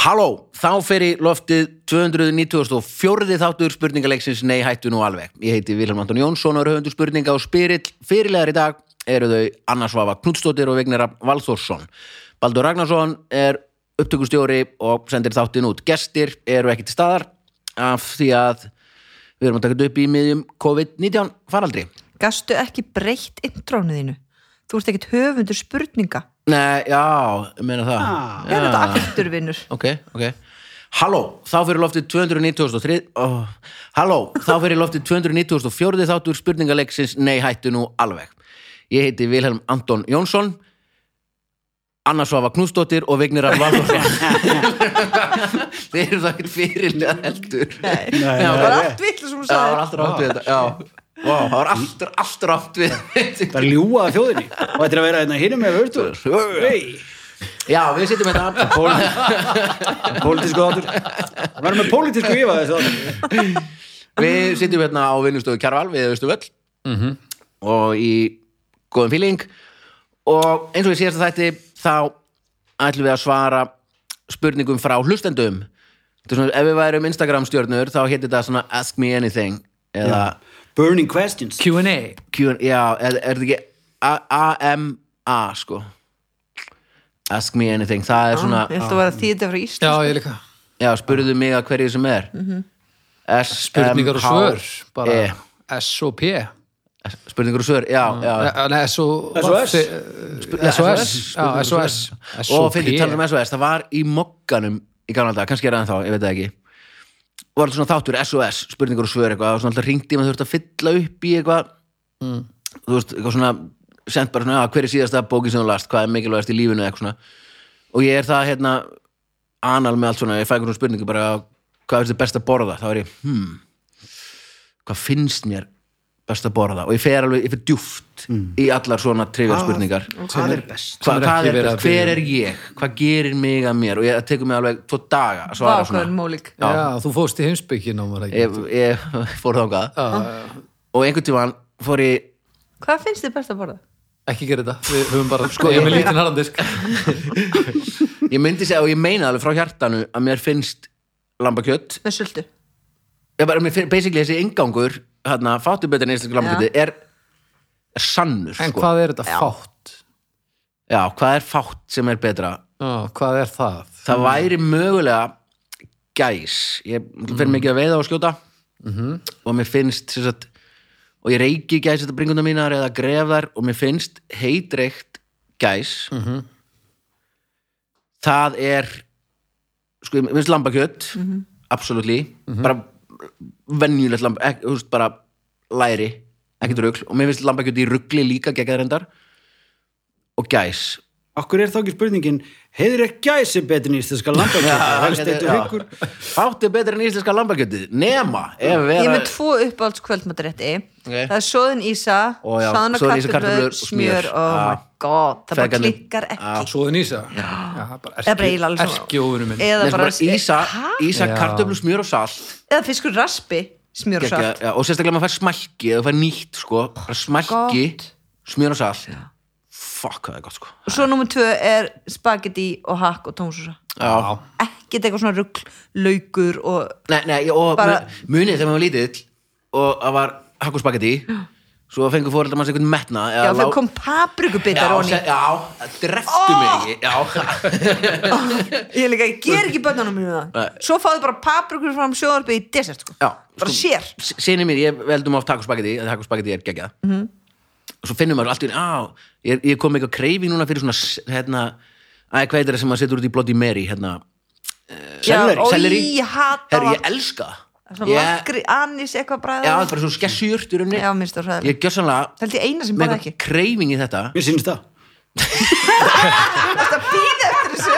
Halló, þá fer í loftið 294. þáttur spurningaleiksins Nei, hættu nú alveg. Ég heiti Vilhelm Anton Jónsson og er höfundur spurninga og spyrill. Fyrirlegar í dag eru þau Anna Svava Knudstóttir og Vignera Valþórsson. Baldur Ragnarsson er upptökustjóri og sendir þáttin út. Gestir eru ekki til staðar af því að við erum að taka þetta upp í miðjum COVID-19 faraldri. Gastu ekki breytt intrónu þínu? Þú ert ekkit höfundur spurninga. Nei, já, ég meina það. Ah, Er þetta afturvinnur? ok, ok Halló, þá fyrir loftið 293 oh. Halló, þá fyrir loftið 294 þáttur spurningaleiksins Nei, hættu nú alveg Ég heiti Vilhelm Anton Jónsson Anna Svafa Knúsdóttir og Vignir Arn Valdorsson Þeir eru það ekkert fyrirlega heldur Nei, Það var allt vill sem hún Já, það var sagði. alltaf rátt við þetta Já, Vá, það var alltaf, alltaf rátt við Það er ljúa að þjóðinni og þetta er að vera hérna hinum með vörður Nei, Já, við sittum hérna pólitísku þáttur Það verður með pólitísku yfa þessu þáttur Við sittum hérna á vinnustöðu Kjarval við veistu völl Mhm. og í góðum fíling og eins og ég síðast að þætti þá ætlum við að svara spurningum frá hlustendum Þetta er svona, ef við værum Instagram stjörnur þá héti þetta svona ask me anything eða Burning questions Q&A Q&A, já, er, er þetta ekki A- AMA sko ask me anything, það er svona Ég ætla að vera þýðið frá Ísland. Já, ég líka já, spurðu mig að hverju sem er S Spurningar og svör bara e. S og P spurningar og svör, já, já, já. Eh, nei, S og SOS. SOS Já, SOS S og P. fyrir tala um SOS, það var í mokkanum í gamla dag, kannski er það en þá, ég veit það ekki var alltaf svona þáttur SOS spurningur og svör eitthvað, það var svona alltaf ringdi maður þurfti að fylla upp í eitthvað Mm. þú veist, eitthvað svona sent bara svona, já, hver er síðasta bókin sem þú last hvað er mikilvægast í lífinu eitthvað svona og ég er það hérna anal með allt svona, ég fæ einhvern spurningu bara hvað finnst þér best að borða, þá er ég hmm, hvað finnst mér best að borða og ég fer alveg, ég fer djúft Mm. í allar svona trivial spurningar Ah, Hvað er best? Hva, er hvað ekki er, verið að hver biðja um. er ég, hvað gerir mig að mér og ég það tekur mig alveg tvo daga að svara Vákvæðan svona mólík. Já, þú fóst í heimsbyggjinn á maður ekki ég, ég fór þangað og einhvern tímann fór ég Hvað finnst þið best að borða? Ekki gera þetta, við höfum bara sko, ég er með lítinn harðandisk ég myndi segja og ég meina alveg frá hjartanu að mér finnst lambakjött Með sultu. ég bara, mér finn, basically þessi ingangur hérna, fátu betur en íslenska lambakjötti er, er sannur En sko. hvað er þetta fátt? Já, hvað er fátt sem er betra Já, hvað er það? það væri mögulega gæs ég fer mikið að veiða og skjóta og mér finnst sem sagt, og ég reyki gæs þetta bringundum mínar eða gref þær og mér finnst heitreikt gæs það er sko, mér finnst lambakjött mm bara venjulegt lamb, ek, þú veist, bara læri, ekkert rugl og mér finnst lambakjött í rugli líka gegn reyndar og gæs Akkur er þá ekki spurningin Heiður er gæsi betur nýst þesska landakjöta Fátt er betra en íslenska lambakjötið Nema ef Ég er með vera tvo uppáhalds kvöldmatrétti. Ok. Það er soðin ísa, Ó, já, saðan og soðin ísa, kartöflur, kartöflur, smjör. smjör. Oh Ah. my god, það bara Feðgarnir. klikkar ekki. Svoðin Ísa? Já, það er Eða bara eiginlega bara alveg erki, sama. erkióvinu minn Eða Nei, sko bara, bara Ísa, ísa Já. kartöflu, smjör og salt, eða fiskur raspi, smjör og Gekja, salt. já, Og sérstaklega maður fær smælki Eða þú fær nýtt sko bara Smælki, gott. smjör og salt Fuck, það er gott sko Og svo nummer tvö er spagetti og hakk og tónsúsa. já. Ekkert eitthvað svona rugl, laukur og Nei, nei, og Bara- bara... munið þegar maður var lítill Og það var hakk og spagetti Svo fengur fóreldar manns einhvern metna Já, eða það lá- kom paprikubitar Já, onni. se- já, dreftu mig ekki Já, Ég líka, ég ger ekki bönnunum mínu það Svo fáðu bara paprikur fram sjóðarpið í desert sko. já Bara sér sinni mér, ég veldum af takospagetti en takospagetti er geggjað Mhm. og svo finnum maður allt í einu, á, ég, er- ég kom með eitthvað kreyfi núna fyrir svona s- hérna, æ, hvað heitir það sem maður setur út í Bloody Mary hérna, Selleri. Já, ó, Selleri. Ég hata herru, það ég elska það. Svona ég, lakri, anis, eitthvað bræða já, það er bara svona skessjurt í rauninni, Já, minnst það hræðilegt. ég gjör sannlega Það held ég eina sem með bara eitthvað ekki kreyfing í þetta Mér sýnst það Það býði eftir þessu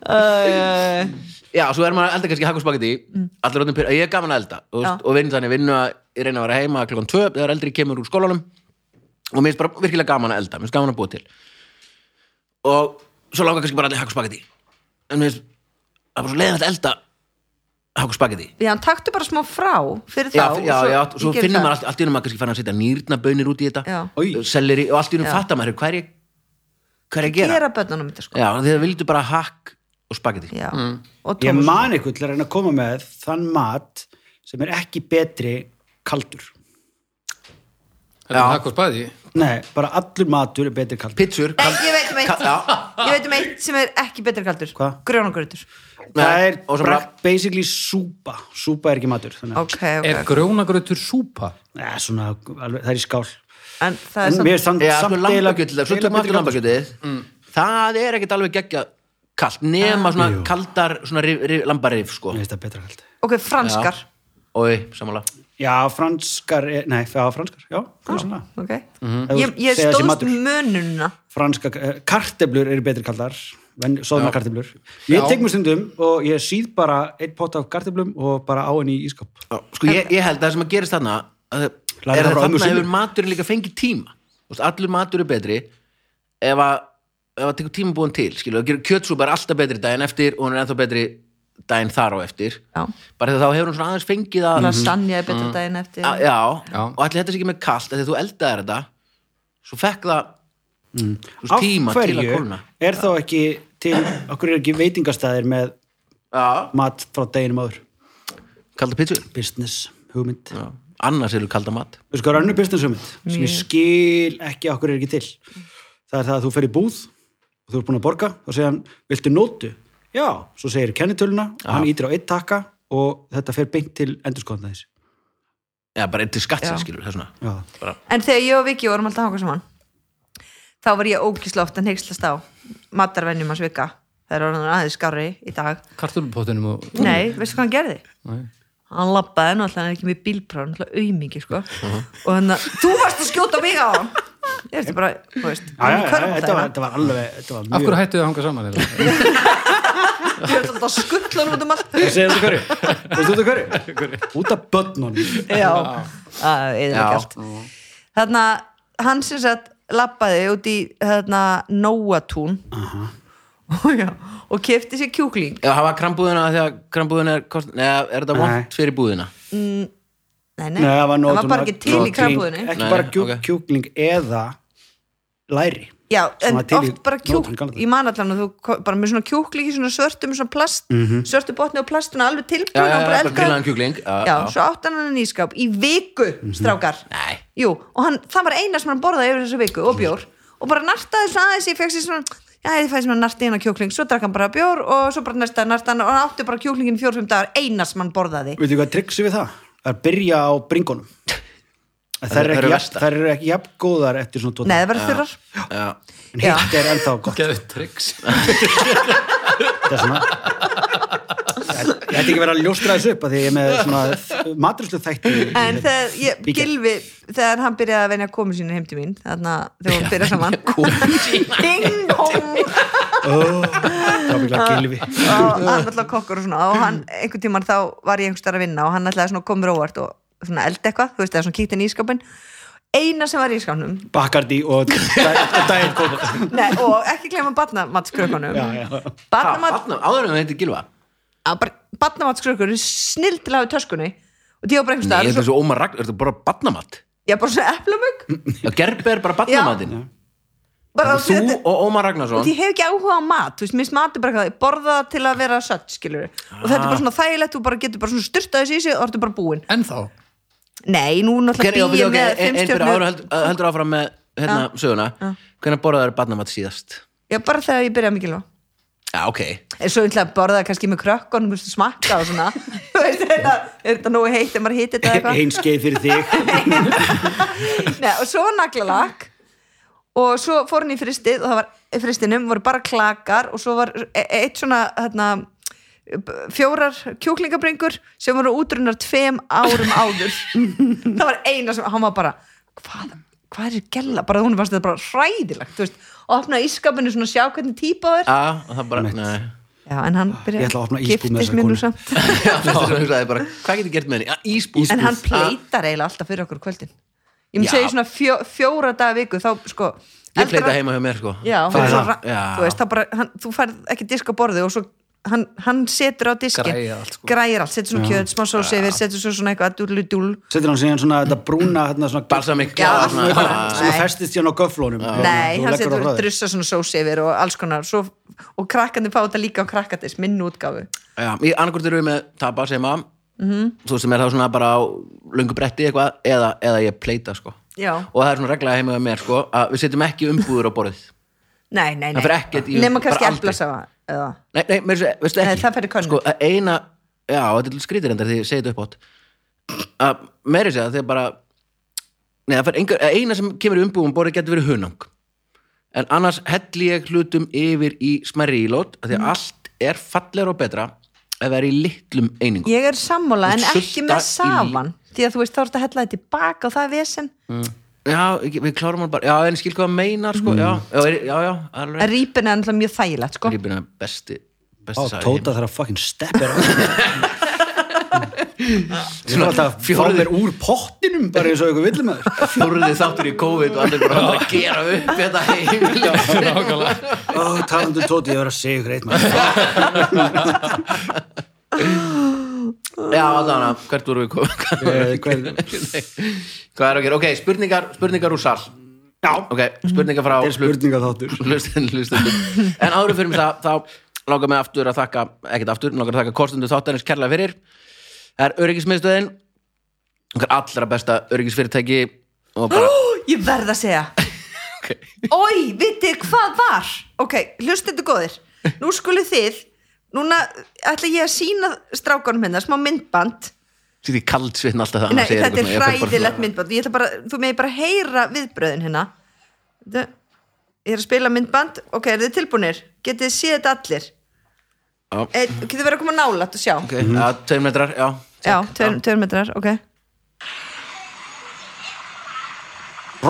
Æ, já, svo er maður að elda kannski hakkuspagetti mm. allir rótum pyrr, ég er gaman að elda þú veist, Já. og vinn þannig, vinnu að ég reyna að vera heima klokkan tvö, þegar eldri kemur úr skólanum og mér finnst bara virkilega gaman að elda mér finnst gaman að búa til og svo lága kannski bara allir hakkuspagetti en mér finnst, það er bara svo leiðan að elda hakkuspagetti Já, hann taktu bara smá frá fyrir þá já, já, já, svo ég geri finnum það. maður allt, allt í unum maður kannski fann að setja nýrnabönir út í Já. þetta Oj. selleri og allt í unum Já. fattar maður hvað er ég hvað er að gera? gera börnunum þetta sko Já, þeir vildu bara hakk og spagetti Já. og Ég Thomas- man eitthvað til að reyna að koma með þann mat sem er ekki betri kaldur. Þetta er hakk og spæði Nei, bara allur matur er betri kaldur. Pitsur Nei, ég veit um eitt Já, ég veit um eitt sem er ekki betra kaldur Hvað? grjónagröður Nei, Það er og svo bara bara- basically súpa. Súpa er ekki matur. Þannig. ok, ok, Er grjónagrautur súpa? Nei, svona, alveg, það er í skál. en það er En samt mér er samt, Já, sko samt lambakjöld, svo tökum betri aftur kaldur. lambakjöldið Það er ekkert alveg geggja kalt nema svona kaldar svona rif, rif, lambarif sko Mér finnst það betra kaldur. ok, franskar Ói, samanlega Já, franskar, er, nei, já, franskar, já, franskar. ok, Ef þú ég, ég segir þessi stóðst matur. mununa franska, eh, karteblur eru betri kaldar soðna karteblur ég tek mér stundum og ég síð bara einn pott af karteblum og bara á henni í ískap Sko ég, ég held að það sem að gerast þarna að- Lærðu er það að frá þarna ömmu sinni. hefur maturinn líka fengið tíma Þú veist, Allur matur er betri ef að, ef að tekur tíma búin til skilu, kjötsúpa er alltaf betri daginn eftir og hún er ennþá betri daginn þar á eftir Já. bara þegar þá hefur hún svona aðeins fengið að Mhm. lasagna er betra daginn eftir að, já, Já. og allir þetta sé ekki með kalt þegar þú eldaðir þetta svo fekk það þú veist, Mm. af tíma til að hverju kólna er þá ekki til okkur er ekki veitingastæðir með já, mat frá deginum áður kalda pítsu business hugmynd já. annars eru kalda mat þú sko, rannu business hugmynd sem ég skil ekki okkur er ekki til það er það að þú fer í búð og þú er búin að borga og segja hann, viltu nótu? Já, svo segir kennitöluna og hann ítir á eitt takka og þetta fer beint til endurskoðan þess já, bara einn til skatsa, Já. skilur, það er svona Já. en þegar ég og Viki vorum alltaf hangað saman þá var ég ógisla oft en heikslast á matarvenjum hans Vika það er orðan aðeins skári í dag Kartulupottinum og Mm. nei, veistu hvað hann gerði? Nei. hann labbaði náttúrulega hann er ekki með bílpráð náttúrulega aumingi sko Mhm. og hann að þú varst að skjóta mig á hann ég veist bara, þú veist Já, já, hann já, körfum þetta var, þetta var alveg þetta var Af mjög... hverju hættu þið að hanga saman? eiginlega? ég ætla alltaf að skuttla hann út um allt Ég segi þetta hverju, veistu þetta hverju? Út af börnunum já, það Já. er ekki allt þannig að hann sem sagt labbaði út í þarna nóatún og, já, og kefti sér kjúkling já, hafa krambúðina þegar krambúðina er kost... neða, er þetta Nei. vond fyrir búðina nei, Nei, það var, hann nótum var bara að- ekki til í kjúkling- krabbuðinu Ekki Nei, bara kjú, ok. kjúkling eða læri já, Sem en var til í oft bara nótum kjúkling galdur. ég man allan að þú ko- bara með svona kjúkling í svona svörtum svona plast, Mhm. svörtu botni og plastuna alveg tilbúin og bara bara grillaðan eldaði kjúkling já, já, Mhm. svo átti hann hann í skáp í viku, strákar Nei. Jú, og hann, það var eina sem hann borðaði yfir þessu viku og bjór og bara nartaði svona aðeins ég fekk sér svona, já, ég fæði svona narti inn á kjúkling svo drakk hann bara bjór og svo bara næsta narti hann og hann átti bara kjúklingin í fjór-fimm dagar eina sem hann borðaði Veitu hvað triksi við það? Það er að byrja á bringunum Það eru eru ekki, jafn- verstar. þær eru ekki jafn góðar eftir svona tóta Nei, það verður þurrar já. En hitt er ennþá gott Geðveikt trix Þetta er svona Ég ætti ekki verið að ljóstra þessu upp af Því ég er með svona matrislu þætti En þegar ég, Bíkja. Gilvi, þegar hann byrjaði að venja komu sína heim til mín þannig að þegar hann byrjaði saman Ding dong Það er mikla gilvi og hann alltaf kokkur og svona og hann, einhvern tímann þá var ég einhvers þar að vinna og hann alltaf svona komur óvart og svona eld eitthvað, þú veist, eða svona kíkti inn í ískapin eina sem var í ískapnum Bakkardi og dæin kók Nei, og ekki glemma batnamatskrökkunum Já, já. Ha, Barnamat, barna- áður en það heitir Gilva batnamatskrökkur snill til að hafa í töskunni og því var bara Nei, þetta einhvers staðar er og svo- svo ómar ragn, er þetta bara barnamat ég bara svona eplamögg já, gerbi er bara barnamatinn bara Mm, þú því þetta- og Ómar og Ragnarsson því ég hef ekki áhuga á mat þú veist, minnst mat er bara eitthvað, ég borða það til að vera sött skilur og þetta er Ah. bara svona þægilegt þú bara getur bara svona styrtað þessi í sig og ertu bara búinn En þá nei, nú náttúrulega Hver- já, býð ok, ég en- með en fyrir áður fimmstjörnu held- heldur áfram með hérna, söguna, hvernig borðaður barnamat síðast já, bara þegar ég byrjaði mikilvæg já, ok en svo ætla að borða það kannski með krökkunum þú veist, smakka og svona Þú veist, er þetta- er þetta nógu heitt ef maður hýtti þetta eða eitthvað Einn skeið fyrir þig Nei, og svo var naglalakk og svo fór hann í fristið og það var, í fristinum voru bara klakar og svo var e- eitt svona hérna, fjórar kjúklingabringur sem voru útrunnar tveim árum áður það var eina sem, hann var bara hvað, hvað er gæla, bara hún varst þetta bara hræðilegt, þú veist, opna ískapinu svona sjá hvernig típa það er Já, það bara, nei já, en hann Ég byrjaði ætla að opna ísbúð með þessari mér nú konu. samt Já, það hugsaði bara, hvað getur gert með henni? Já, ísbúð en hann pleitar eiginlega alltaf fyrir okkur á kvöldin ég Ah. myndi Já. segja svona fjó, fjóra daga viku þá sko Ég pleita eldra- heima hjá mér, sko já, Það það er svo, það. ra- þú veist, það bara hann, þú færð ekki disk á borði og svo hann, hann setur á diskin Græjar allt, sko. græjar allt, setur svona Já. kjöt, smá sósi yfir setur svo svona eitthvað dúlludúll setur hann síðan svona þetta brúna hérna, svona, Balsamik Já. sem Nei. festist síðan á göflónum nei, hann setur drussa svona sósi yfir og alls konar svo, og krakkandi fá þetta líka á krakkadis minn útgáfu Já, Mhm. í annarkvort eru við með tapa sem að þú veist sem er þá svona bara á löngu bretti eitthvað eða, eða ég pleita sko Já. og það er svona regla heima með mér sko að við setjum ekki umbúður á borðið nei, nei, Það nei, fer ekkert í- nema bara kannski aldrei. eflasafa eða Nei, nei, mér sé, veistu ekki Nei, það fer í könnur. Sko, að eina, já, þetta er skrítir endar því ég segi þetta upp átt að meiri segja þegar bara Nei, það fer einhver, að eina sem kemur í umbúðum um borðið getur verið hunang En annars helli ég hlutum yfir í smærri ílót af Því Mm. að allt er fallegra og betra ef það er í litlum einingum Ég er sammála en Þú ert ekki með sulta í- safan því að þú veist þá ertu að hella þetta tilbaka og það er vesen Já, ekki- við klárum hann bara, já, en ég skil hvað hann meinar sko, já, já, er- já, já, alveg Mm. en rípin er ennþá mjög þægilegt sko. Rípina er besti, besti og saga í Tóta þarf að fucking steppa þér á Svona alltaf fá fjórði- mér úr pottinum bara eins og ykkur villum að heimi. Fjórði þáttur í COVID og allir bara að gera upp þetta heim Nákvæmlega. Ó, talandu Tóti, ég var að segja ykkur eitt maður Já, þannig að hvert voru við komið Eh, hver- Hvað er að gera? Ok, spurningar, spurningar úr sal Já, Ok, spurningar frá það er spurninga þáttur hlustin, hlustin En áður fyrir það, þá langar mig aftur að þakka ekkert aftur, langar að þakka kostundu þáttanins kærlega fyrir Það er öryggismiðstöðin okkar allra besta öryggisfyrirtæki og bara, Ég verð að segja ok Ói, vitið þið hvað var? Ok, hlustendur góðir Nú skulu þið Núna ætla ég að sína strákanum hérna smá myndband Því því kald svinn alltaf það Nei, annars ég þetta eitthvað svona, er ég fer bara hræðilegt myndband Ég ætla bara, Þú meði bara heyra viðbröðin hérna Þetta- Ég er að spila myndband Ok, eru þið tilbúnir? Getið þið séð þetta allir? Já. Eh, Getið þið verið að koma nálætt og sjá? Ok, já, tveim metrar, já Já, tveir, tveir metrar, ok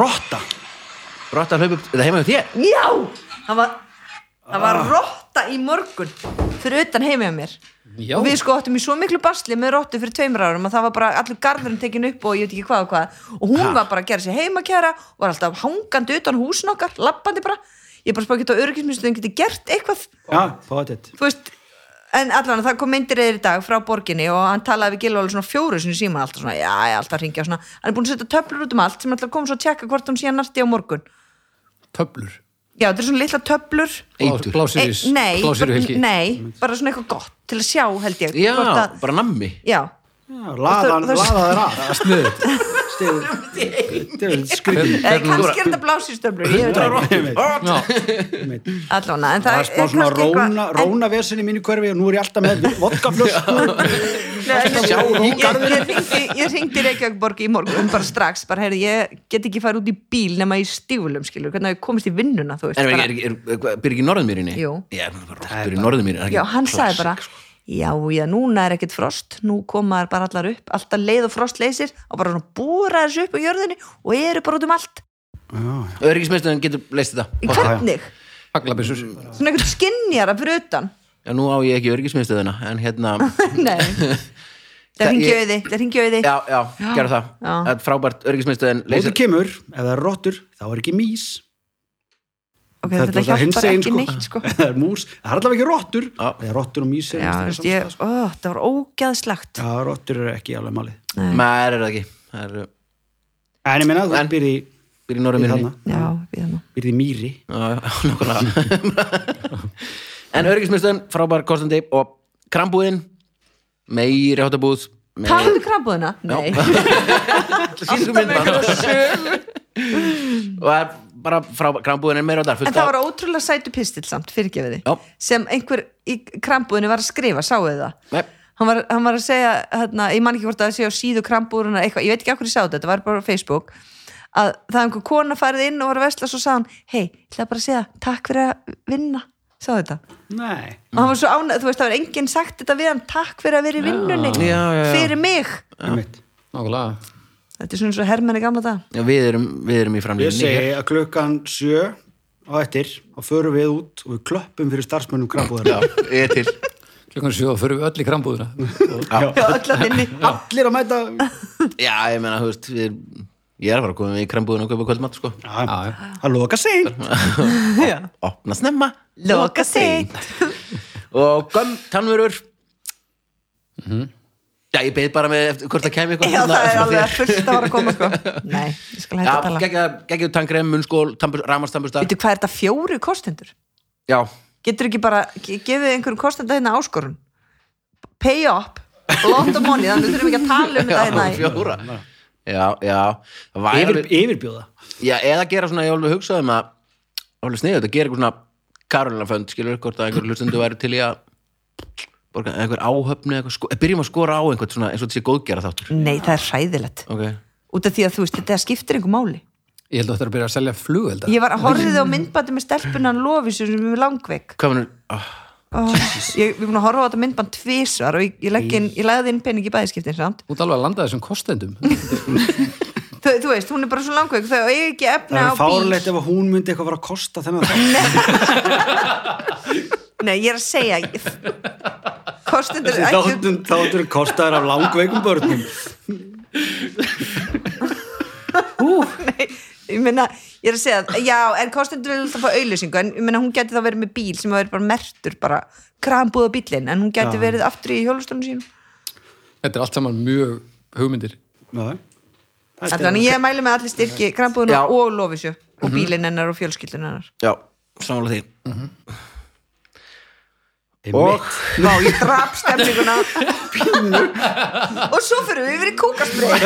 Rotta Brott að hlaupa upp, þetta heima hjá þér Já, það var það var rotta í morgun fyrir utan heimi á mér Já. og við sko áttum í svo miklu basli með rottu fyrir tveimur árum að það var bara allur garðurinn tekin upp og ég veit ekki hvað og hvað og hún var bara að gera sér heimakjæra og var alltaf hangandi utan húsin okkar, lappandi bara ég er bara spákitt á öryggisminstöðum geti gert eitthvað Já, pottet þú veist en allan það kom myndir eður í dag frá borginni og hann talaði við Gilvali svona fjóru sinni síma alltaf svona, já, já, alltaf hringja og svona hann er búin að setja töflur út um allt sem alltaf kom svo að tjekka hvort hún sé að narti á morgun Töflur. já, þetta er svona litla töflur Eitur. Blásýris. Ei, nei, Blásýri bara, helgi. nei, bara svona eitthvað gott til að sjá held ég Já, hvort að, bara nammi já. Laðan, Það- það- laða þær að Sniðut. Stigur- Þetta er skrítið Eða, Eh, kannski er þetta blásýrstöflur ég veit það ekki. Já. allan, en það, Það er smá svona kannski eitthvað- róna, róna í mínu hverfi og nú er ég alltaf með vodkaflösku Nei, Sjá í ég, ég, hringdi- ég ringdi Reykjavíkborg í morgun bara strax, bara heyrðu, ég get ekki farið út í bíl nema í stíflum, skilur, hvernig að ég komist í vinnuna þú veist, En er, bara, er, er, er, byrja ekki í norðumýrinni? Jú. Ég er bara rottur í norðumýrinni er ekki já, hann klassik, sagði bara sko. já, já, núna er ekkert frost nú koma þær bara allar upp, alltaf leið og frost leysir og bara svona búra þessu upp á jörðinni og eru bara út um allt Öryggismiðstöðin getur leist þetta í hvernig, Haglabissur. svona eitthvað skinnjara fyrir utan, Já, nú á ég ekki öryggismiðstöðina En hérna, nei Það- það ringi ég- auði, það ringi auði já, já, gera það Já. Þetta er frábært öryggismiðstöðin Leysir leysir kemur, ef það er rottur, þá er ekki mís ok, þetta hjálpar hinsegin, ekki neitt sko Það er mús, það er allavega ekki rottur Já. Það er rottur og mís já, er ekki veist, saman ég, stað, sko. ó, það var ógæðslagt Já, rottur eru ekki alveg málið Mær er það ekki Það er En ég meina, þú En- byrði byrja í norðumýrinni þarna, já, við hann byrði mýri Já, já, nákvæmlega En öryggismiðstöðin, frábær kostandi Og krambúðin Meiri hátabúð Talaðu um krambúðina? Nei, Sýnum myndband um Og það er bara frá krambúðin er meira á þar en það var ótrúlega sætu pistill samt, fyrirgefiði Já. sem einhver í krambúðinu var að skrifa, sáu þið það Nei. hann var, hann var að segja, hérna, ég man ekki hvort að það sé á síðu krambúðurinn eitthvað, ég veit ekki af hverju ég sá þetta, þetta var bara á Facebook að það var einhver kona farið inn og var að vesla svo sagði hann, hei, ég ætla bara að segja takk fyrir að vinna, sá þetta Nei, og hann var svo ánægð, þú veist, það var enginn sagt þetta við hann, takk fyrir að vera í vinnunni Já, já, já. fyrir mig, einmitt Nákvæmlega. þetta er svona svo hermenni gamla dag Já, við erum, við erum í Ég framlýðinni segi að klukkan sjö á eftir, þá förum við út og við klöppum fyrir starfsmönnum krambúðar Ég er til Klukkan sjö förum við öll í krambúðina. Já, öll að vinni Allir að mæta Já, ég meina, þú veist, við, ég er að fara að koma í krambúðin og kaupa kvöldmatt, sko Já, Já, já. Það loka seint Opna snemma Loka seint. og göm tannverur Mhm. já ég beið bara með eftir, hvort það kæmi eitthvað Já, hérna það er frá alveg þér. að fullt að vara að koma sko. Nei, ég skal hægt að já, tala geggja, geggjuð tangrem, munnskól, ramastambustar Veitu hvað er þetta fjóru kostendur? já, Getur ekki bara ge- gefið einhverjum kostendur hérna áskorun? Pay up, lot of money Þannig þurfum ekki að tala um já, þetta hérna í- fjóra já, já, það væri Yfir, alveg- yfirbjóða já, eða gera svona, ég alveg hugsaði um að alveg sniðið, þetta gera eitthvað svona karolinafönd, skilur hvort að einhver hlustundu væri til í að borga eða einhver áhöfni, eða eitthvað, sko, byrjum að skora á einhvern svona, eins og þetta sé góðgera þáttur Nei, það er hræðilegt okay. Út af því að þú veist, þetta skiptir einhver máli Ég held að þetta er að byrja að selja flugvelda Ég var að horfið á myndbandi með stelpunan Lofísu sem er langveik hvað mennur, oh, oh, Ég ég er búin að horfa á þetta myndband tvisvar og ég, ég, legg inn, ég lagði inn pening í bæðiskiptin samt Þú ert alveg að landa þessum kostendum þú, þú veist, hún er bara svo langveik þau er ekki efni á Það er bíl fárlegt ef að hún myndi eitthvað vera að kosta þennan þátt. Nei, ég er að segja Kostendur ættu- Þáttum, þáttum kostaður af langveikum börnum Nei, Ég meina, ég er að segja að- Já, en kostendur er alltaf að fá auðlýsingu en ég meina, hún geti þá verið með bíl sem verið bara mertur bara krambúða bílinn en hún geti verið aftur í hjólustunum sínum Þetta er allt saman mjög hugmyndir Já. Það er Þannig stefna. ég mæli með allir styrki krambúðuna Já. og lofisju Mhm. og bílinn hennar og fjölskyldun hennar já, Mhm. samanlega því Einmitt. Vá, ég drap stemninguna Og svo fyrir við yfir í kúkasbreið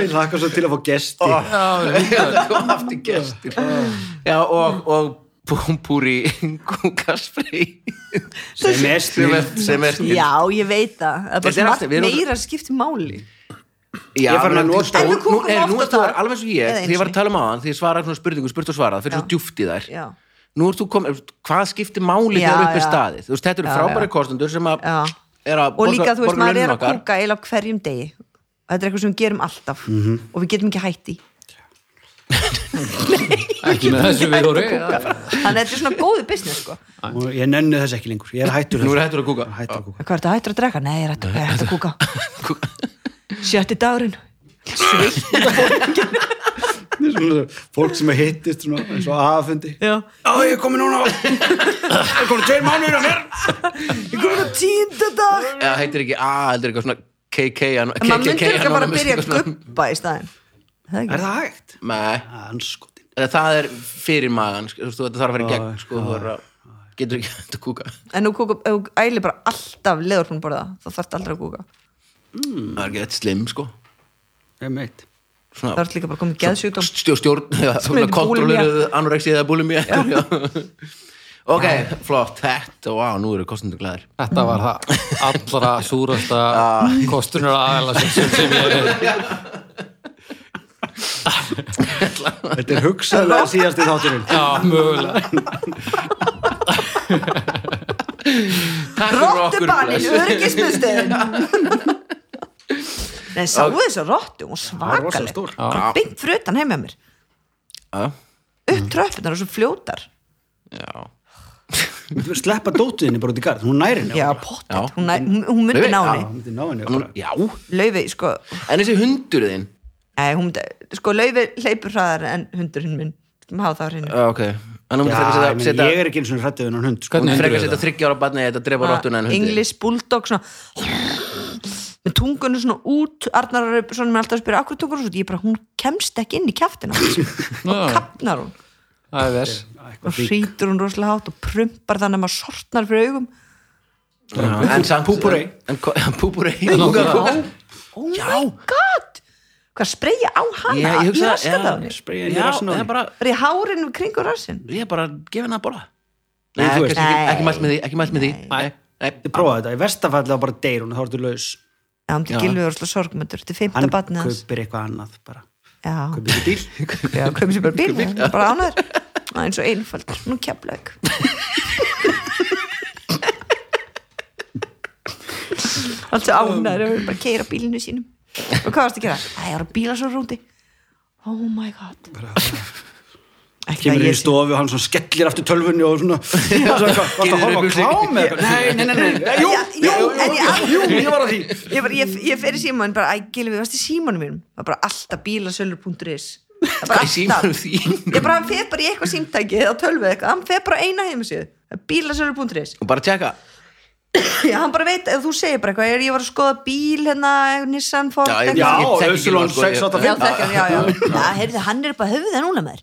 Ég laka svo til að fá gesti Ah. kom aftur gestur já, og, og búmpúri kúkaspray sem er sem snill. er, sem er Já, ég veit það Það er bara Þetta er svo alltaf- margt við erum- meira skipti máli Já, Ég er farin að nú- nota- nú- En við kúkum nú- nei, Nú oft á ert þú dag. alveg svo ég, Eða einu því ég var að sinni. tala um aðan því ég svaraði svona spurningu, spurt og svarað fyrir Já. svo djúft í þær Já. Nú ert þú komin, hvað skiptir máli Já, þegar upp er já. staðið? Þú veist, þetta eru Já, frábæri já. kostendur sem að Já. er að Og líka, þú veist, maður er að okkar kúka eila hverjum degi og þetta er eitthvað sem við gerum alltaf Mhm. og við getum ekki hætt í Ekki með þessu við voru Þannig að þetta er svona góðu business, sko Og Ég nenni þess ekki lengur, ég er hættur Nú þessu. er hættur að kúka Ég er hættur að kúka Hvað er þetta hættur að drega? Nei, ég er hættur, ég er hættur að kúka Sjötti dagurinn Sveitt Þetta er svona Fólk sem er hittist svona, eins og aðfundi Já. Já, ég er komin núna Ég er komin tveir mánuður að mér Ég kom að tínda dag Eða heitir ekki A, heldur eitthvað svona KK an- En maður myndir KKK ekki bara að anonymous, byrja eitthvað að svona. guppa í staðin Það er Er ekki það hægt? Nei, Anskotin eða það er fyrir magan sko, þú veist, þetta þarf að vera í gegn sko, þú er að, getur ekki hægt að kúka En nú kúka, ef þú ælir bara alltaf leður hún borða þá þarf þetta aldrei að kúka það er ekki þetta slim sko Ég meitt Það svona er líka bara komið geðsjúkdóm stjórn, stjórn já, svona heitir kontrolleruð anorexi eða bulimia já. ok, flott, þetta wow, nú eru kostendur glæðir Þetta var það allra súrasta Ah. kostunar aðeila sem, sem ég Þetta er hugsaðlega síðast í þátturinn Já, mögulega Takk fyrir okkur, Rottubaninn, bless. öryggismiðstöðin Nei, sáu þess að rottu, hún Það er rosa svakaleg stór Já, Mm. Byggt fyrir utan heim hjá mér já, Upp tröppunar og svo fljótar já. Þú veist, Sleppa dótiðinni bara út í garð, hún næri henni Já, Já, Já. pottet, hún, nær- hún, hún myndi Laufey, ná já. henni hún myndi ná henni Nú- bara. já, Laufi, sko, en þessi hundur þinn nei, hún myndi Sko, Laufi hleypur hraðar en hundurinn minn sem hafa það á hreinu Já, ok, en nú Já, frekar ég setja, meina, setja ég er ekki eins og hrættið hennan hund sko. Hvernig hundur frekar er setja það? þryggja ára barni eða drepa rottuna en hundi English Bulldog svona með tungunum svona út Arnar er svona með alltaf að spyrja akkur tungunum svona, ég bara, hún kemst ekki inn í kjaftina og Já, kapnar hún Það er vers og hrýtur hún rosalega hátt og prumpar þannig að maður sortnar fyrir augum Já, en samt Púpurey. en ko- Púpurey Já. oh my god hvað spreyja á hana Já, ég í hugsa raskat á henni Spraya henni í Já, rassinn á það henni. er bara bara í hárinu kringur rassin ég er bara gefin að borða Nei, Nei, þú kannski veist. ekki, ekki Nei. mælt með því, ekki mælt með því Nei, nei, Þið prófaðu þetta, í vestafallega bara deyr hún þá ertu laus já, hann til gilvið rosalega sorgmöndur þetta er Hann fymta batnið hans kaupir eitthvað annað bara já, Kaupir ekki bíl já, kaupir sér bara bíl hann er bara ánæður Það er eins og einfald, nú keflaug Allt svo ánæður að bara keira bílinu sínum Og hvað varstu að gera? Æ, ég var að bíla svo rúti Oh my god Ekki kemur að inn ég í stofu og hann svona skellir aftur tölvunni og svona, svona varst að horfa á klám eða eitthvað?" nei, nei, nei, nei, nei, jú, Já, jú, já, jú, en jú, ég- jú, ég var að því ég, bara, ég, ég fer í síman bara, æ, Gilvi, varst í símanum mínum það var bara alltaf bílasölur.is Það er bara Hvað er símanum alltaf- þín? Ég bara, hann fer bara í eitthvað símtæki eða tölvið eitthvað, hann fer bara á eina heimasíðu bílasölu.is Og bara tjekka Já, hann bara veit, ef þú segir bara eitthvað, ég var að skoða bíl hérna, Nissan Ford Já, ég- eitthvað. ég- Já, þekki Össulón Gylfa, sko, ég- 685 já, þekkjum, já, já Já, heyrðu, hann er bara höfuða núna maður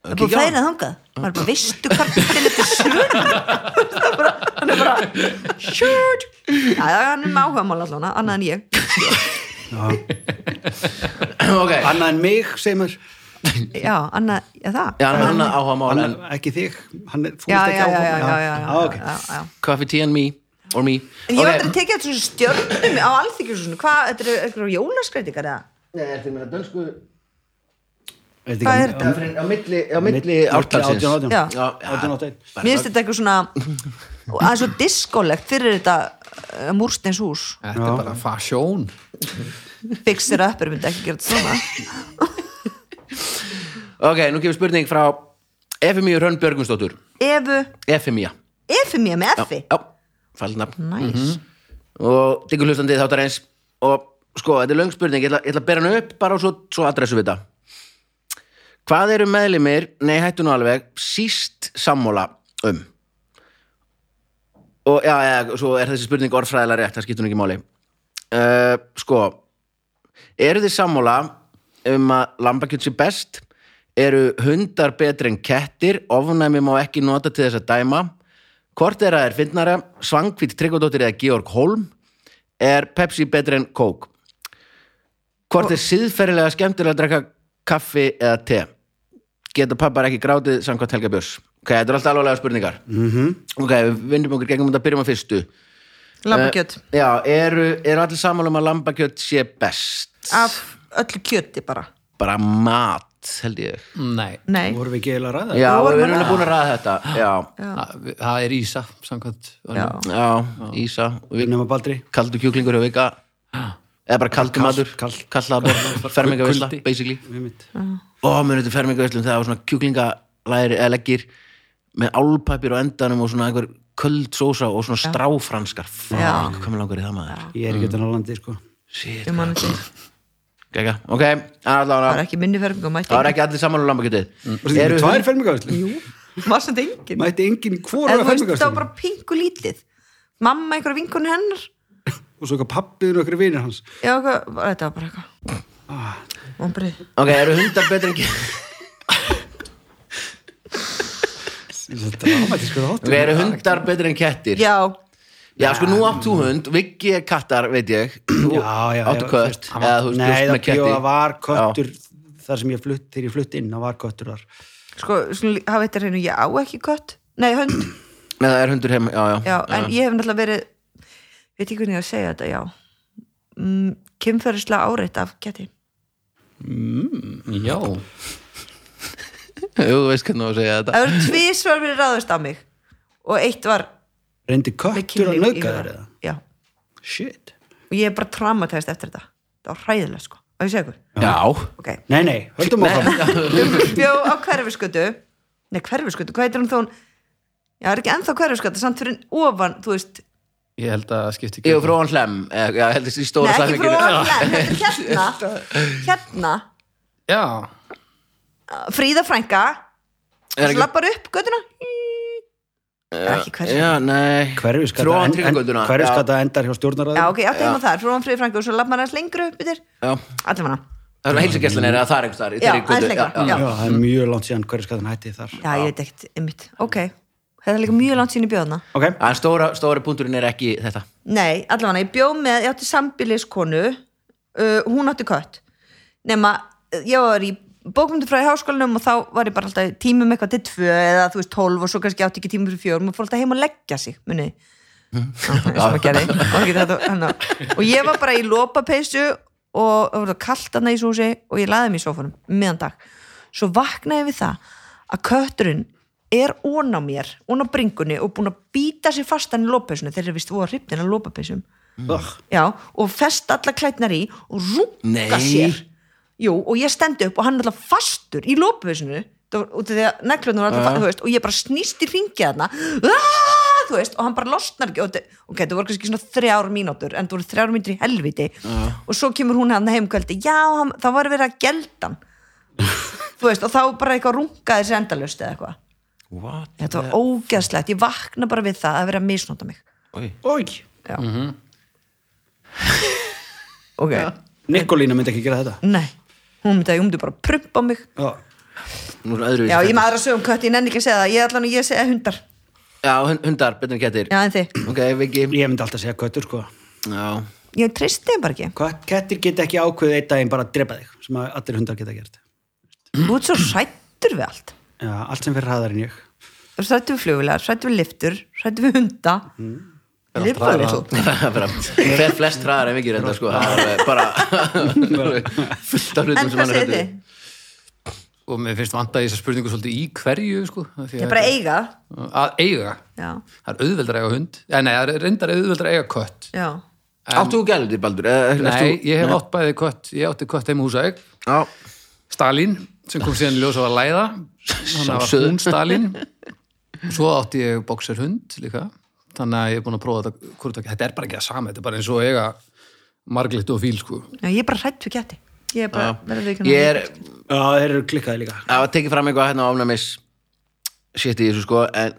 Það er búið Kíkja á að færa þangað maður bara, veistu hvað bílinn er til sölu Það er bara- hann er bara shoot Já, já, hann er með áhugamál allan, annað en ég Ok Annað en mig, segir maður Já, annað, já það Já, hann er annað áhuga mál en Annað- Ekki þig, hann er fúst já, ekki já, já, já, áhuga já, já, Ah, ok. já, já, já. Coffee, tea and me Or me En ég var aldrei að tekið þetta svona stjörnum á alþykjum svona, hvað, þetta eru eitthvað jólaskreitingar eða? Nei, þetta er meira dönsku Er þetta Hvað ekki- er þetta? Á milli, á milli ártalsins 1881 Já. 1881 Mér finnst þetta eitthvað svona að svo diskolegt fyrir þetta eh, múrsteins hús Þetta er bara fasjón fixir upp er myndi ekki gera þetta svona Ok, nú kemur spurning frá Efemíu Hrönn Björgunsdóttur Efu, Efemía Efi mér með Efi Já, fælnafn Næs og diggur hlustandi þáttar eins og sko, þetta er löng spurning, ég ætla, ég ætla að bera hann upp bara og svo, svo adressu við þetta hvað eru meðlimir, nei hættu nú alveg síst sammála um og já, já, svo er þessi spurning orðfræðilega rétt, það skiptur nú ekki máli uh, sko eru þið sammála um að lambakjöt sé best eru hundar betri en kettir ofnæmi má ekki nota til þess að dæma hvort er að er fyndnara svangvít Tryggvadóttir eða Georg Holm er Pepsi betri en Coke hvort er síðferðilega skemmtilega að drekka kaffi eða te geta pappar ekki grátið samkvæmt Helga Björs ok, þetta er alltaf alvarlega spurningar -hmm. ok, við vinnum okkur gegnum þetta byrjum á fyrstu Lambakjöt Eh, já, eru, eru allir sammála um að lambakjöt sé best Eh, Af öllu kjöti bara bara mat, held ég Nei, Nei, Vorum við ekki eiginlega að ræða það? já, Nú við vorum erum að eiginlega búin að ræða þetta já, það það er Ísa samkvæmt já önnur. já, Ísa og við Nema Baldri kaldu kjúklingur og vika eða bara kaldu matur kalt. kallaðabor, fermingavisla, Kuldi. basically einmitt. og mér þetta fermingavislum þegar það var svona kjúklingalæri eða leggir með álpapir á endanum og svona einhver köld sósa og svona stráfranskar Já. fuck, hvað mér langar í það maður Ég er ekki utan á landi, sko shit, Ég man ekki, gegga, ok allavega, það er ekki minni verðing og mætti það var ekki allir saman um lambakjötið Eru eru tvær fermingavæslu? Var samt engin Mætti enginn hvora En þú veist, það var fermingavæslu bara pingu lítið Mamma einhverja vinkunni hennar Og svo eitthvað pappiður og einhverju vinir hans Ah, Já, hvað, var- þetta var bara eitthvað Vombrið ok, eru hundar betri en kettir Þetta er dramatískur ok, þáttur eru hundar betri en kettir Já, já, sko, nú átt þú hund, Viggi er kattar veit ég, Þú Já, já, áttu já, kött fyrst. eða þú Nei, spjóst það með bjóða ketti var köttur Þar sem ég flutt, þegar ég flutt inn Það var köttur þar sko, svona, hafa þetta hreinu Ég á ekki kött, nei, hönd Nei, það er hundur heima, já, já. já, en ég hef náttúrulega verið veit ekki hvernig ég á að segja þetta, já mm, kynferðislega áreitt af geti Já, Jú, þú veist hvernig þú á að segja þetta. það eru tvísvar verið ráðast á mig og eitt var Reyndi með köttur að kynlíf í nauka þér huga. eða? já, Shit og ég er bara traumatæst eftir þetta það var hræðilega sko, og ég segja Já. ykkur ok, Nei, nei, höldum á það bjó á hverfiskötu nei, hverfiskötu, hvað heitir hún þó hún já, það er ekki ennþá hverfiskötu, samt fyrir ofan þú veist, ég held að það skipti Ég er frá hann hlem, eh, já, heldur þessi nei, stóra ekki samhenginu. fyrir ofan nei, þetta er hérna, hérna Já, Fríða frænka, Er ekki, slappar upp götuna það er ekki hverfiskötu já, nei. Hverfiskata Frá hann en- en- tryggingönduna. Hverfiskata endar hjá stjórnarraður Já, ok, átti heima þar, frá hann friði frængu og svo lafði maður aðeins lengur upp yfir Já, já. Allir manna Það er heilsugæslan er að það er einhvers þar. í Já, Tryggvagötu, aðeins lengra, já. Já, það er mjög langt síðan hverfiskatan hætti þar Já, ég veit ekkert, einmitt, ok Það er líka mjög langt sín í bjóðna Ok, En stóra, stóra punkturinn er ekki þetta. Nei, allir manna, ég bjóð með, ég átti sambiliskonu uh, Hún átti kött Nema, uh, ég var í bókmyndufræði háskólanum og þá var ég bara alltaf tímum eitthvað til tvö eða þú veist tólf og svo kannski átti ekki tímum fyrir fjórum og fór alltaf heim að leggja sig, munið þið? Já, eins og maður gerði. Og ekki þetta- hérna. og ég var bara í lopapeysu og það var kallt hann í þessu húsi og ég laði mig í sófanum meðan dag svo vaknaði ég við það að kötturinn er ón á mér ón á bringunni og búin að býta sér fastan í lopapeysuna þeir eru vist voru hrifnin af lopapeysum Ugh. já, og fest alla klætnar í og rúka Nei. sér Jú, og ég stendi upp og hann er alltaf fastur í lópuvísinu og ég bara snýst í ringið þarna "Ah!" þú veist, og hann bara losnar ekki og þetta- ok, það voru kannski svona þrjár mínútur en það voru hérna þrjár mínútur í helviti og svo kemur hún hann heimkvöldi já, hann, það var verið að gelda hann þú veist, og þá bara eitthvað rungaði sér endalust eða eitthvað What? þetta var ógeðslegt, ég vakna bara við það að vera að misnota mig Oj. Oj, já Mhm. ok, Nikolína myndi ekki gera þetta nei hún myndi að ég myndi bara að prumpa mig Já, Nú er öðru já, ég maður að sögum kött, ég nenni ekki að segja það ég ætla nú, ég segja hundar, Já, hun- hundar, betur en kettir já en þið Ok, Viki ég myndi alltaf segja köttur sko Já, ég treysti þeim bara ekki, Hvað, kettir geta ekki ákveðið einn daginn bara að drepa þig sem að allir hundar geta gert þú ert svo sættur við allt Já, allt sem fyrir hraðar en ég þú ert sættur við flugvilar, sættur við liftur sættur við hunda Mhm. mm. lifa little bara fer flest hraðar en Viki reynda sko Það er alveg bara fullt af hlutum sem en hvað hann er segir hræddur þið? við. og mér finnst vanda þessar spurningu svolítið í hverju sko, af ég því að- er bara að eiga að eiga já, það er auðveldar að eiga hund eh, nei, það er reyndar auðveldar að eiga kött já, Áttu þú gældi, Baldur? Eh, ert nei, þú- ég hef átt bæði kött ég átti kött heim í húsæk Já, Stalin, sem kom síðan í ljós á að læða þannig að var Sjálfsögðu. hún Stalin svo átti ég bókserhund líka þannig að ég er búin að prófa þetta hvort ekki, þetta er bara ekki það sama, þetta er bara eins og að eiga marglitt og fíl sko já ég er bara hrætt við geti ég er bara, verður við ekki ég er Já, þeir eru klikkaði líka það var tekið fram eitthvað hérna á ofnæmis shit í þessu sko en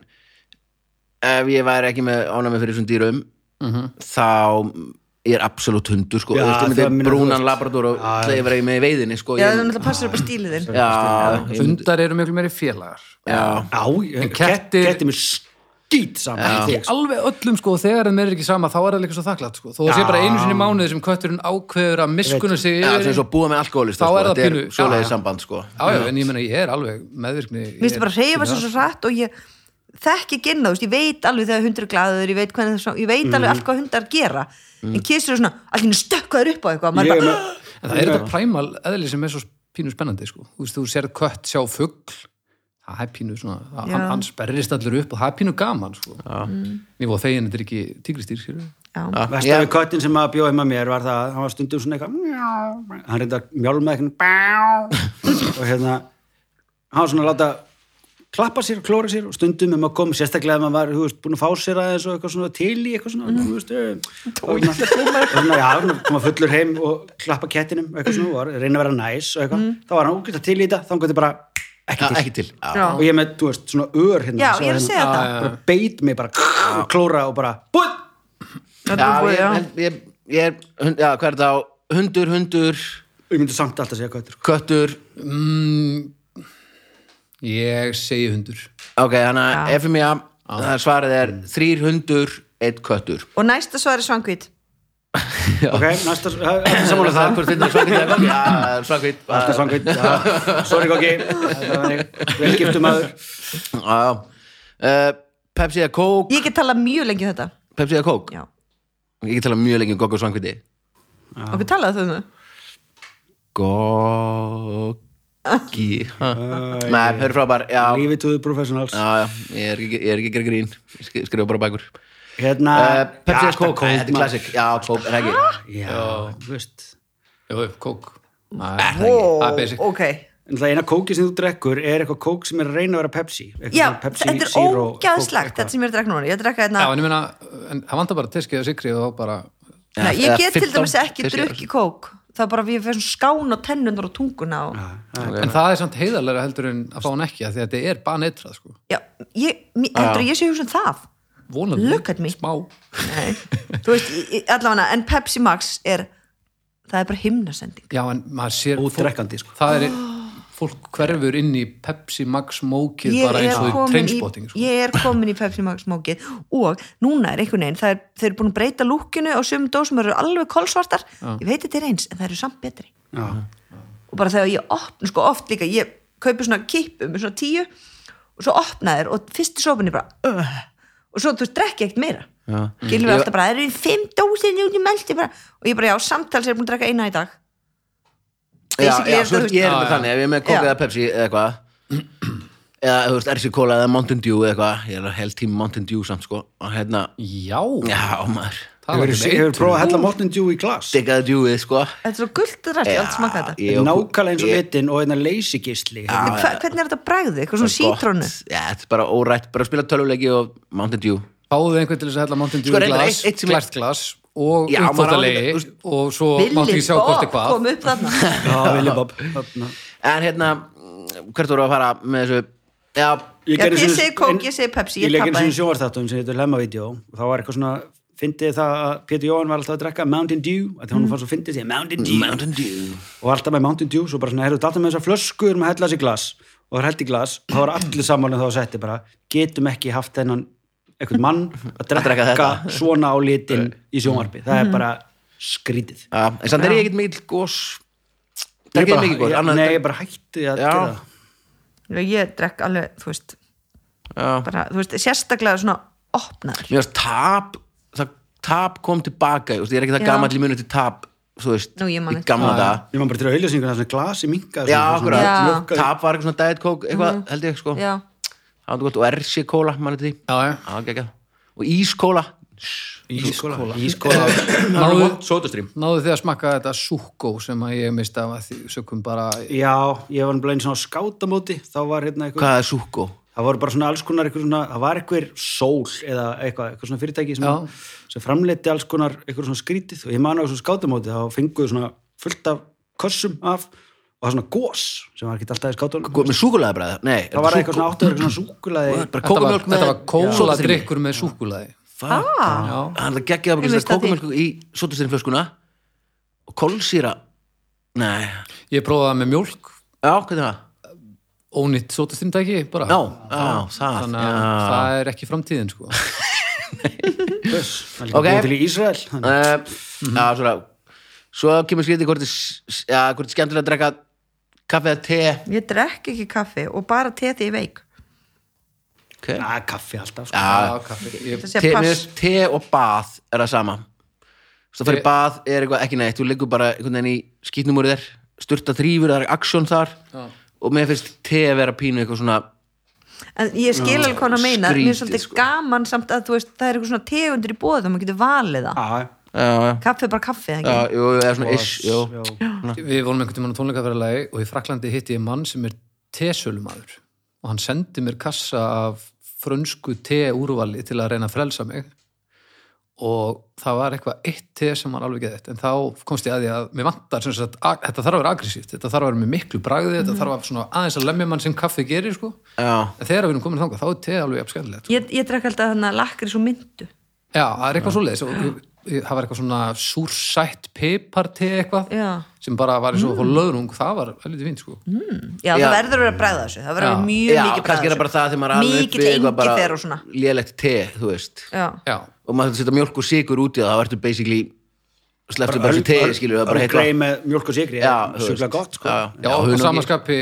ef ég væri ekki með ofnæmi fyrir þessum dýrum Mhm. þá ég er absolutt hundur sko Já, þú veist, ég það myndi meina, þú brúnan veist. labrador og kleifra ég með í veiðinni sko já, ég, þú náttúrulega passir upp á stílið þinn já, ég myndi- hundar eru miklu meiri félagar já, Já, ég- kettir- kettir kettir mér skýt saman ekki alveg öllum sko, og þegar þeim er ekki sama þá er það líka svo þakklátt sko, þó það sé bara einu sinni í mánuði sem kötturinn ákveður að miskuna sig já, yfir sem svo búa með alkoholista Þá sko, er það þetta er pínu- já, svoleiði já. samband sko Já, já, en ég meina, ég er alveg meðvirkni mér finnst bara að reyfa sér svo hrætt og ég þekki ekki inn á, þú veist, ég veit alveg þegar hundur er glaður, ég veit, hvernig, það svo- ég veit alveg allt hvað hundar gera en kissur er svona, allir stökkaður upp á eitthvað maður bara, En það er þetta præmal eðli sem er svo pínu spennandi sko. Þú veist, þú sérð kött sjá fugg það er pínu svona, það- Já. hann, hann sperrist allir upp og það er pínu gaman sko. Ég voru þegin, þetta er ekki tígristýr skilur. "Ah." já, Já, Vesta ég, við köttin sem að bjóði með mér var það að hann var stundum svona eitthvað mjá, hann reynda að mjálma eitthvað og hérna hann var svona að láta klappa sér, klóra sér og stundum um að koma sérstaklega ef maður var, þú veist, búin að fá sér aðeins og eitthvað svona til í eitthvað svona, þú veist eh, og svona, og svona, já, svona, koma fullur heim og klappa kettinum og eitthvað svona, og var, reyna að vera næs og eitthvað, þá var hann úkvæmt til í þetta þá hann gæti bara já, ekki til ekki til já. já. og ég með, þú veist, svona ör hérna, Já, ég er svo að hérna, segja það. bara beit mig bara og klóra og bara, búið Þetta er já, búið, ég, já. held- ég, ég er hund- já, hvað er það á hundur, hundur, og ég myndi samt alltaf segja köttur köttur Mm, ég segi hundur ok, þannig að FMIA það er svarið er þrýr hundur, eitt köttur og næsta svar er svangvít ok, næsta Sammála um sammála það, hvort finnir svangvít eða kokki? Já, svangvít næsta svangveit sorry kokki Þetta var ég. velgiftum aður svangvít Eh, Pepsi eða kók ég get talað mjög lengi um þetta Pepsi eða kók já. Ég get talað mjög lengi um kokk og svangvíti okkur talaðu þau um það Kokki ha. Nei, hörðu frábær Já, já, lífið tóðu professionals já, ég er ekki- ég er ekki að gera grín Ég sk- Skrifa bara bækur hérna Eh, Pepsi Já, eða kók, Nei, þetta er maður. klassik Já, kók, er ekki já, þú veist Jó, jó, kók Nei, það er ekki. Það er basic. ok, en það eina kóki sem þú drekkur er eitthvað kók sem er að reyna að vera Pepsi Eitthvað já, svona Pepsi þetta er Zero ógæðslegt kók, þetta sem ég er að drekka núna, ég er að drekka hérna- Já, þetta en ég meina, en það vantar bara teskið og sigri og þá bara Nei, eða ég get til 15, dæmis ekki 15. drukki kók það er bara að ég fyrir skán og tennunar og tunguna og En það er samt heiðarlega heldur en að fá hann ekki af því að þetta er baneitrað sko. já, ég, mér- heldur að ég sé hugsun það Vonandi, Look at me. smá Nei. þú veist, í- í- allavega en Pepsi Max er það er bara himnasending Já, en maður sér Ódrekkandi, sko. Það er, fólk hverfur inn í Pepsi Max mókið ég bara eins er, og í komin í, trainspotting sko. ég er komin í Pepsi Max mókið og núna er einhvern veginn það er, þeir eru búin að breyta lúkinu og sumum dósum eru alveg kolsvartar, ég veit þetta er eins en það eru samt betri já. og bara þegar ég opna, sko oft líka ég kaupi svona kippu með svona tíu og svo opna þér og fyrstu sopinni bara uh, og svo þú veist, drekki ekkert meira gilur við Ég- alltaf bara, það eru fimm dósin út í meldi bara, og ég bara já, samtals er búin að drekka eina í dag Já, Basically já, er svo þetta, þú veist, ég er veist- með Já, þannig, ef ég er með kók Já. eða Pepsi eða eitthvað eða, þú veist, RC Cola eða Mountain Dew eða eitthvað, ég er að held tím Mountain Dew samt, sko, og hérna Já, Já, maður, það var ekki hefur prófað að hella Mountain Dew í glas diggaði djúið, sko þetta er svo gullt að rætt, ég hef aldrei smaka þetta Ég- nákvæmlega eins og ég- vitin og einna leysigisli En hva, hvernig er þetta bræðið, eitthvað svona sítrónu Gott. Já, þetta er bara órætt, bara að spila tölvuleiki og Mountain Dew Fáðu einhvern til þess að hella Mountain Dew Sko, í reyndar glas, eitt- eitt sem er- glært glas og Já, maður á uppþáttalegi þetta, þú veist- og svo mátti Billy ekki sjá hvort er Bob hvað kom upp þarna já, Willy Bob Þarna. en hérna, hvert voru að fara með þessu já, Já, gerði ég svona- segi kók, ein- ég segi Pepsi, ég Ég leikir tapaði. svona sjónvarþáttum sem heitur Lemmavídeó og þá var eitthvað svona, fyndið það að Pétur Jóhann var alltaf að drekka Mountain Dew að því hún fann svo fyndið því að Mountain Dew Mountain Dew og var alltaf með Mountain Dew, svo bara svona, heyrðu, datum með þessar flösku við erum að hella þessi glas og það er held í glas þá var allir um sammálinn þá að setja bara getum ekki haft þennan einhvern mann að drekka drekka þetta. svona á litin í sjónvarpi, það er bara skrítið já, en samt er ég ekkert mikill gos það er Ég ekki bara- mikill gos ég- annað- Nei, ég bara hætti að Já. gera það ég drekk alveg, þú veist, já. bara, þú veist sérstaklega svona opnar mér varst tap það, tap kom tilbaka, ég veist, ég er ekki það Já. gamall í muni til tap, þú veist Nú, ég man í ekki. gamla Já, já. dag, Ég maður bara til að auðlýsinguna, svona glasi minka já, Já. Mhm. akkurat Lukkaði. tap var eitthvað svona diet coke, eitthvað, held ég sko já, Það var gott og RC kóla, mann eftir því Já, já. Já, geggjað Og ískóla Ískóla Ískóla Náðu, Sótustrým náðu þið að smakka þetta súkó sem að ég mista af að því sökum bara Já, ég var bara einu svona á skátamóti þá var hérna eitthvað, Hvað er súkó? það voru bara svona alls konar eitthvað svona, það var eitthvað sól eða eitthvað, eitthvað svona fyrirtæki sem, Já. sem framleiti alls konar eitthvað svona skrítið og ég man á svona skátamóti þá fenguðu svona fullt af kössum af og það svona gós sem var ekki alltaf í skátunum Með súkulaði bræða? Nei, það var eitthvað svona áttuður eitthvað svona súkulaði Bara Þetta var, kókumjölk með þetta var kóla drikkur með súkulaði Það ah, er geggjað að Ég byrja missti af því. kókumjölk í sótustrým flöskuna Og kólsýra Nei Ég prófaði það með mjólk, Já, hvað er það? ónýtt sótastýmtæki bara. Já, já, það Þannig að já. það er ekki framtíðin sko. það Ok. er líka búið til í Ísrael þannig að- Eh, Já, svona Svo kemur skrítið hvort er s- s- Já, hvort er skemmtilega að drekka Kaffi eða te ég drekk ekki kaffi og bara te því ég er veik Ok Já, kaffi alltaf sko. Já, Já, kaffi. Ég, það te, sé mér pass finnst te og bað er það sama þú fyrir Te- bað er eitthvað ekki neitt þú liggur bara einhvern veginn í skýtnumúrið þér styrta þrýfur, það er aksjón þar Já. og mér finnst te að vera pínu eitthvað svona en ég skil alveg hvað hann meina mér er skrítið, svolítið sko. gaman samt að þú veist, það er eitthvað svona tegundur í bóð og maður getur valið það Já, já, kaffi er bara kaffi, eða já, ekki? jú, eða svona ish, jú já. við vorum einhvern tímann á tónleikaferðalagi og í Fraklandi hitti ég mann sem er tesölumæður og hann sendi mér kassa af frönsku teúrvali til að reyna að frelsa mig og það var eitthvað eitt te sem var alveg geðið en þá komst ég að því að mér vantar sem sagt, ag- þetta þarf að vera aggressíft, þetta þarf að vera með miklu bragði Mhm. þetta þarf að svona aðeins að lemja mann sem kaffi gerir sko. já, en þegar við erum komin þangað þá er te alveg jafnskendilegt ég, ég drekk alltaf þannig að lakri svo myndu Já, það er eitthvað svoleiðis og ég- ég- það var eitthvað svona súrsætt piparte eitthvað Já. sem bara var eins og mm. löðrung, það var helviti fínt sko. Mm. Já. já, það verður að vera að bræða þessu það verður að vera Já. mjög já mikið kannski er bræða það bara það þegar maður er alveg mikið engifer og svona lélegt te, þú veist já, Já, og maður þarf að setja mjólk og sigur út í það þá ertu basically sleftu bara Öl- þessu te, öl- skilur það bara Earl heitla Grey með mjólk og sigri Já, þú sjúkla veist. gott sko Já, já, Já, og hunangi. samanskapi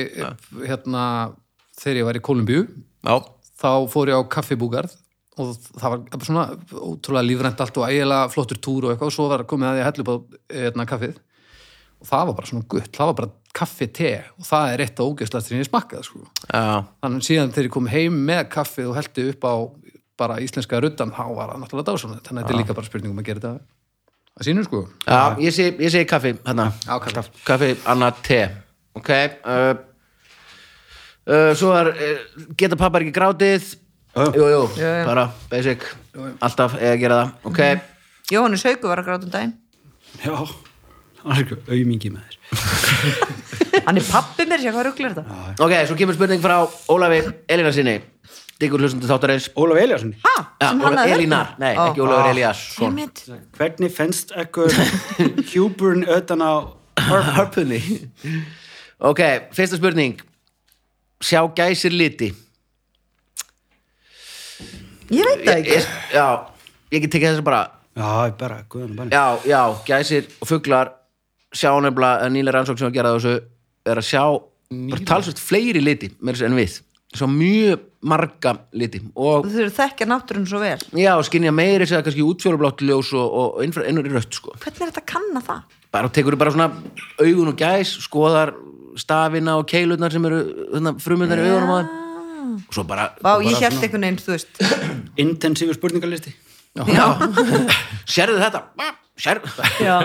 hérna þegar ég var í Kolumbíu já, þá fór ég á kaffibúgarð og það var bara svona ótrúlega lífrænt allt og ægilega flottur túr og eitthvað og svo var komið að ég hellu bara hérna, kaffið og það var bara svona gutt, það var bara kaffi te og það er eitt af ógeðslast sem ég smakkaði sko. já, þannig síðan þegar ég kom heim með kaffið og heldi upp á bara íslenska ruddan þá var það náttúrulega dásanlega þannig að þetta er líka bara spurningum að gera þetta að sínum sko Já, ég segi, ég segi kaffi hérna. Já, kaffi. kaffi, annað te ok uh, uh, svo er uh, geta pappar ekki grátið Já. jú, jú, já. bara basic alltaf eða að gera það ok, Jóhannes Hauku var að gráta um daginn Já, það er eitthvað aumingi með þér hann er pappi mér, sé hvað rugglir þetta Mm-hmm. ok, svo kemur spurning frá Ólafi Elina sinni diggur hlustundu þáttarins Ólaf Eliasson, ha, ja, sem hann Ólaf hafði Elínar, nei, Ó. ekki Ah. Ólafur Elías Einmitt. hvernig fennst ekkur hjúburn öðan á harpunni ok, fyrsta spurning sjá gæsir liti ég veit það ég, ekki ég, já, ég get tekið þess að bara Já, ég bara, guðan og banni já, já, gæsir og fuglar sjá nefnilega, eða nýlega rannsók sem að gera þessu er að sjá bara talsvöld fleiri liti meira að segja en við svo mjög marga liti og þú þurfur þekkja náttúrun svo vel já, skinja meiri segja kannski útfjólublátt ljós og, og innfra, innur í rött sko hvernig er þetta að kanna það? bara tekur bara svona augun og gæs skoðar stafina og keilurnar sem eru hérna, frumundar í augunum á þeim og svo bara, Ah. Vá, bara ég held einhvern veginn, þú veist Intensífur spurningalisti já, sérðu þetta sérðu já,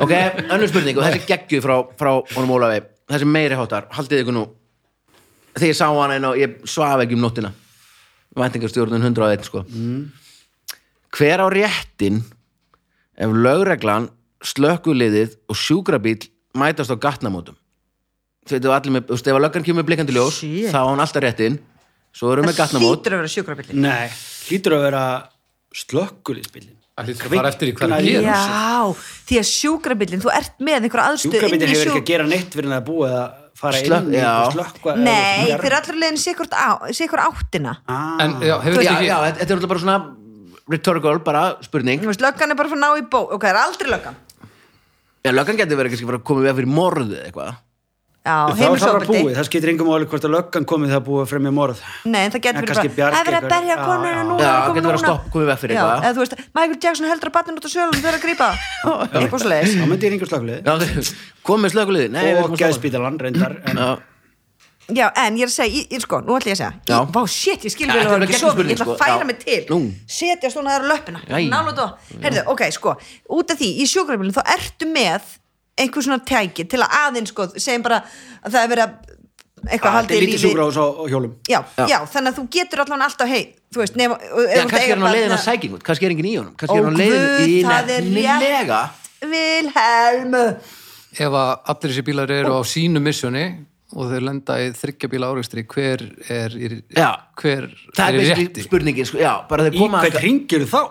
Ok, önnur spurning og þessi geggju frá, frá honum Ólafi þessi meiri hátar, haldið ykkur nú þegar ég sá hann einn og ég svaf ekki um nóttina væntingarstjórnun 101 sko Hver á réttin ef lögreglan, slökkuliðið og sjúkrabíl mætast á gatnamótum þetta var allir með, þú veist, ef að löggan kemur með blikandi ljós Shit. þá á hann alltaf réttin svo erum við gatnamót hlýtur að vera sjúkrabillin Nei, hlýtur að vera slökkulisbillin. Það hlýtur að fara eftir í hverju Kviknar í- gerist. já, því að sjúkrabillin, þú ert með einhverja aðstöð Sjúkrabittin hefur sjúk- ekki að gera neitt fyrir en það er búið að fara Slökk- inn í já. og slökkva. eða nei, fjarr- þeir eru allir leiðin sikur áttina Ah, En já, hefur já, þetta ekki já, þetta þetta er alltaf bara svona rhetorical, bara spurning Þú veist, löggan er bara fyrir að ná í bó ok, það er aldrei löggan já, löggan getur verið kannski bara að koma við fyrir morð eða eitthvað já, Það var það bara búið, heimilisofbeldi það skiptir engum áli hvort að löggan komið það er búið að fremja morð. nei, en það En getur kannski verið bara, það er verið að berja bjarga einhverju. Já, konuna já. núna, Já, hún er komin getur verið að núna. stopp- komið veg fyrir Já, eitthvað. eða þú veist, Michael Jackson heldur að batnin út á sölum þau eru að grípa það. eitthvað slegis Þá myndi ég ringa slökkulið. já, komið slökuliði, nei, við Og erum að slökka. geðspítalan reyndar. En já, Já, en ég er að segja, ég, ég, sko, nú ætla ég að segja Já. ég, Vá, shit, ég skil Já, vel þetta er og bara ekki svo Ég ætla gegnumspurning, að sko. færa Já. mig til Nú. Setja svona þar á löppina Jæja. Nálega þá Herðu, ok, sko, út af því, í sjúkrabílinn þá ertu með einhver svona tæki til að aðeins, sko, segjum bara að það er verið að Ah, eitthvað það haldið í er lítið lífi sjúkrahús á á hjólum. já, já. þannig að þú getur allan alltaf heið Þú veist, nema já, kannski er hann á leiðin að sækja einhvern, kannski er enginn í honum kannski er hann á leiðin í það er nefnilega rétt Vilhelm ef að allir þessi bílar eru á sínu missjóni og þeir lenda í þryggja bíla áreikstri hver er, í- Já. hver það er er í rétti basically spurningin, sko, já, bara þeir Í koma hvern ringir þá?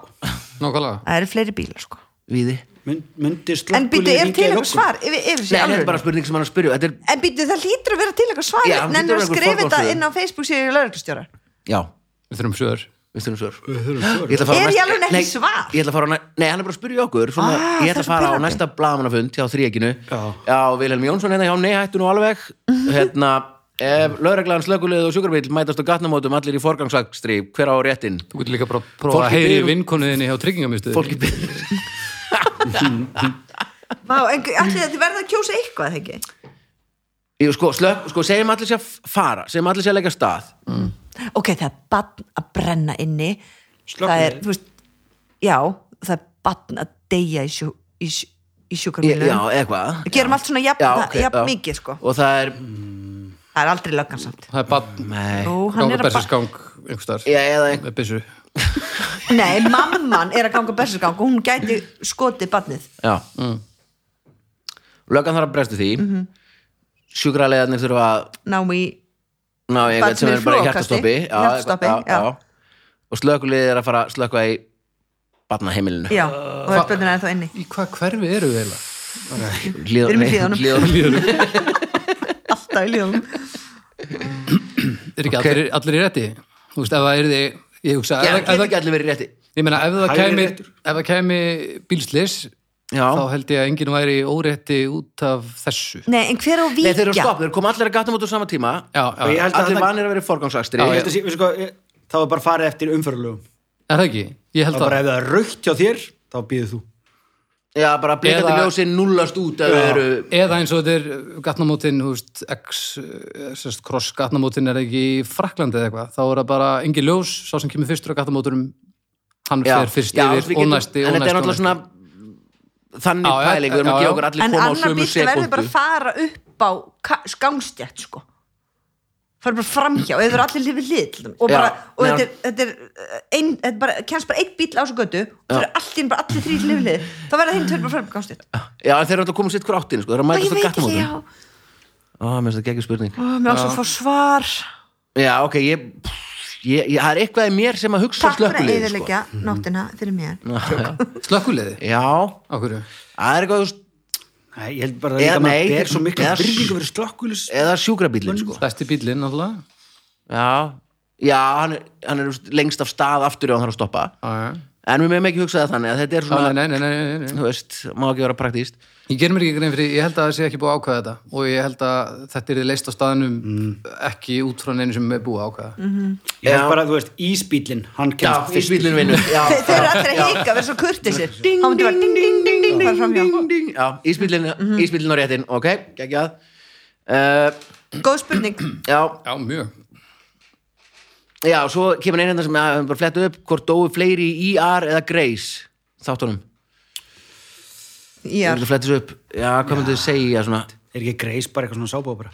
nákvæmlega Það eru fleiri bílar, sko viði Mynd- Myndi En býtu, slökkulið er til ringja í eitthvað lögguna? svar yfir, yfir sig Nei, þetta er bara spurning sem hann er að spyrja Þetta er, En býtu, það hlýtur að vera til eitthvað Já, svar hérna það Nennar hlýtur að að vera skrifa einhver þetta forgangsröðun. inn á Facebook síður lauruglustjóra já, við þurfum svör við þurfum svör Við þurfum svör. Ég ætla að fara á næsta- Er í alveg ekki Nei, svar? Ég ætla að fara á næ... Nei, hann er bara að spyrja okkur svona, Ah, Ég ætla að það er fara á pirrandi. næsta blamanafund hjá þríekinu Já. Já, Vilhelm Jónsson hérna hjá Nei, hættu nú alveg Hérna, ef lögreglan, slökulið og sjúkrabíl mætast á gatnamótum allir í forgangsakstri hver á réttinn? þú getur líka bara að prófa að Fólki heyri biður- vinkonuðinni hjá tryggingamistuð Fólki byrður Vá, en allir þetta verða að kjósa eitthvað, þegar ekki? sko, slök, sko, segjum allir sér að fara segjum allir sér að leggja af stað Ok, það er bann að brenna inni Það er, Slökkvilið. þú veist Já, það er bann að deyja í, sjú, í, sjú- í Ég- Já, sjúkarmílu eða hvað Við gerum allt svona jafn- Já, ok, jafn já. mikið, sko. Og það er, Það er aldrei löggan samt það er bann nei Jú, hann er ganga að ba- bersinsgang einhverstaðar Já, eða með byssu Nei, mamman er að ganga berserskang og hún gæti skotið bannið Já mm. Löggan þarf að brestu því mm Mhm. -hmm. þurfa að Ná í ná í Barn eitthvað sem sem er er bara í flogkasti. hjartastoppi Já, Hjartastoppi, eitthvað- já. Og slökuliðið er að fara að slökva í barnaheimilinu Já, og það er bönnir ennþá inni í hvað hverfi eru við Hlíð- eiginlega? Við erum í nei, hlíðunum. hlíðunum. Alltaf í líðum er ekki allir, allir í rétti? þú veist, ef það er því ég hugsa, Já, ef, það ef, getur það- ekki allir verið rétti ég meina, ef það Hægri kæmi réttur. ef það kæmi bílslis Já. þá held ég að enginn væri órétti út af þessu Nei, en hver á að Nei, þeir eru víkja? stopp, þeir koma allir að gattum út á sama tíma já, Og ég já, held að Allir þarna- vanir að vera í forgangsakstri Ég held að sé- veistu hvað, ég- Það var bara farið eftir umförlugum. er það ekki? ég Það held var bara að ef það er raukt hjá þér, þá býður þú. Já, bara blikandi Eða- ljósin nullast út að þau eru eða eins og þetta er gatnamótin þú veist, X, eh, sérst, cross gatnamótin er ekki í Fraklandi eða eitthvað þá er það bara engin ljós, sá sem kemur fyrstur á gatnamóturum hann Já, fer fyrst já, yfir, við getum- ónæsti, En þetta er ónæsti, náttúrulega svona þannig Já, já, pæling, við erum já, að já. gefa okkur allir En koma á annar sömu bíl verður bara sekundu að fara upp á skangstjætt sko fara bara framhjá, eða eru allir lifið hlið til dæmis. og, Já, bara, og meðan- þetta er, þetta er uh, ein, þetta er bara, kemst bara einn bíl á þessu götu og það eru allir, bara allir þrýr lifið hlið þá verða þeim tveir bara fara upp gangstjætt Já, en þeir eru alltaf að koma sitt hver áttin, sko, þeir eru að og mætast á ég veit ekki, gattamótum já, Ó, mér finnst það geggjum spurning Ó, mér ástu að fá svar Já, ok, ég, pff, ég, ég það er eitthvað í mér sem að hugsa takk fyrir að slökkulið sko. eðilegja nóttina fyrir mér slökkuleiði Já, á hverju? það er eitthvað þú veist, Nei, ég held bara að Eða líka nei, maður ber svo mikla eða- virðingu fyrir slökkulis. eða sjúkrabílinn sko. stærsti bílinn náttúrulega Já, já hann, er, hann er þú veist, lengst af stað aftur ef hann þarf að stoppa Já, já. En við meðum ekki hugsa það þannig að þetta er Já, svona nei, nei, nei, nei, nei. Þú veist, má ekki vera praktíst Ég ger mér ekki grein fyrir, ég held að það sé ekki búið að ákvæða þetta og ég held að þetta er leist á staðanum ekki út frá neinu sem er búið að ákvæða. Ég held Já. bara, þú veist, ísbílinn, hann Já, kemst fyrst. fyrstbílinn vinnur Já, Þe- þeir eru já, allir að já. hika, verða svo kurtisir Ding, þá myndi bara ding, ding, ding, ding, Mhm. fara framhjá ding, ding. Já, ísbílinn ísbílinn og réttin, ok, geggjað uh, góð spurning Já, Já, mjög. já, svo kemur einn hérna sem að bara flettu upp hvort dóu fleiri í IR eða Grace þáttunum Þú Já. ert að fletta þessu upp Já, hvað myndu þið segja svona Er ekki greis bara eitthvað svona sábópera?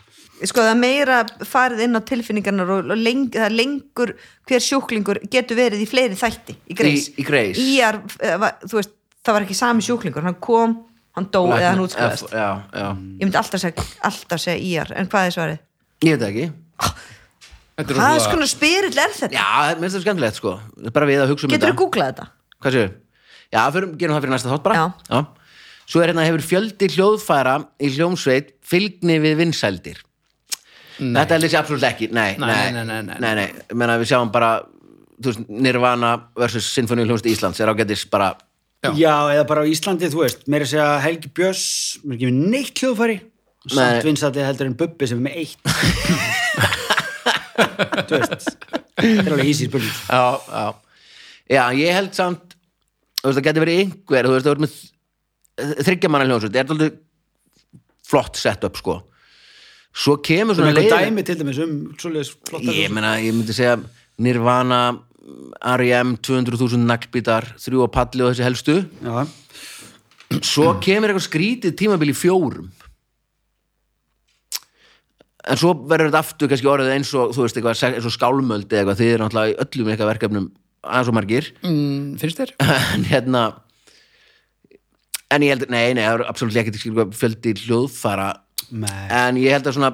sko það er meira farið inn á tilfinningarnar og, og leng, það er lengur hver sjúklingur getur verið í fleiri þætti í greis, Í- í Grace. Í ar, eh, var- þú veist, það var ekki sami sjúklingur hann kom, hann hann dó eða hann Lækna- útskriðast F- já, já. ég myndi alltaf segja, alltaf segja íjar en hvað er svarið? ég veit það ekki Þetta er hvað er sko- rosalega- skona spyrill er þetta? já, mér finnst það skemmtilegt sko Það er bara við að hugsa um getur þú þetta googlað þetta? hvað séu? já, fyrir, gerum það fyrir næsta þátt bara Já. svo er hérna hefur fjöldi hljóðfæra í hljómsveit fylgni við vinsældir þetta er lýsi absolutt ekki nei, Nei, nei, nei, nei, nei. nei, nei. Ég Meina, við sjáum bara þú veist, Nirvana versus Sinfoni hljómsveit Íslands er ágætis bara Já. Já, eða bara á Íslandi, þú veist, meira að segja Helgi Björns, mér er ekki með neitt hljóðfæri, Nei. samt vinsatið heldur en Bubbi sem er með eitt. þú veist, þetta er alveg ísir spurning. já, já. já, ég held samt þú veist, það geti verið einhver þú veist, það verið með þryggjamanna hljómsveit það er alltaf flott sett upp sko. svo kemur Svona svona einhver leiðin- dæmi til dæmis um svoleiðis flottar. ég meina, ég myndi segja Nirvana, E R.E.M. 200.000 naglbítar, þrjú á palli og þessi helstu, Já, svo kemur eitthvað skrítið tímabil í fjórum en svo verður þetta aftur kannski orðið eins og þú veist, eitthvað, se- eins og skálmöldi eða eitthvað, þið er náttúrulega í öllum eitthvað verkefnum aðeins og margir Mm, finnst þér? en hérna en ég held, nei, nei, það eru absolutt ekki til skilur fjöldi hljóðfara nei. en ég held að svona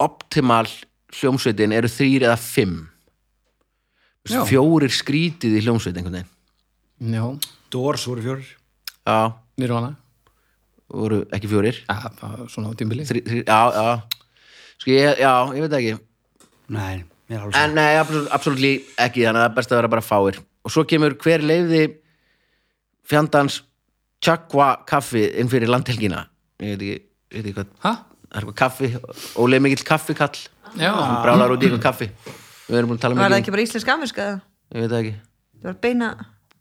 optimal hljómsveitin eru þrýr eða fimm Þú veist, Já. fjórir skrítið í hljómsveit einhvern veginn Já, Dórs voru fjórir. já, nýrvana voru ekki fjórir Já, svona á tímbili þrý, þrý, já, já Sko, ég, já, ég veit það ekki Nei, mér er alveg en nei, absolutt, absolutt ekki þannig að það er best að vera bara fáir og svo kemur hver leiði fjandans tjakva kaffi inn fyrir landhelgina ég veit ekki, ég veit ekki hvað Hæ? það er eitthvað kaffi, ólega mikill kaffikall Já, hann brálar út í eitthvað kaffi við erum búin að tala var mikið það um ekki bara íslensk amerska? eða? ég veit það ekki, það var beina,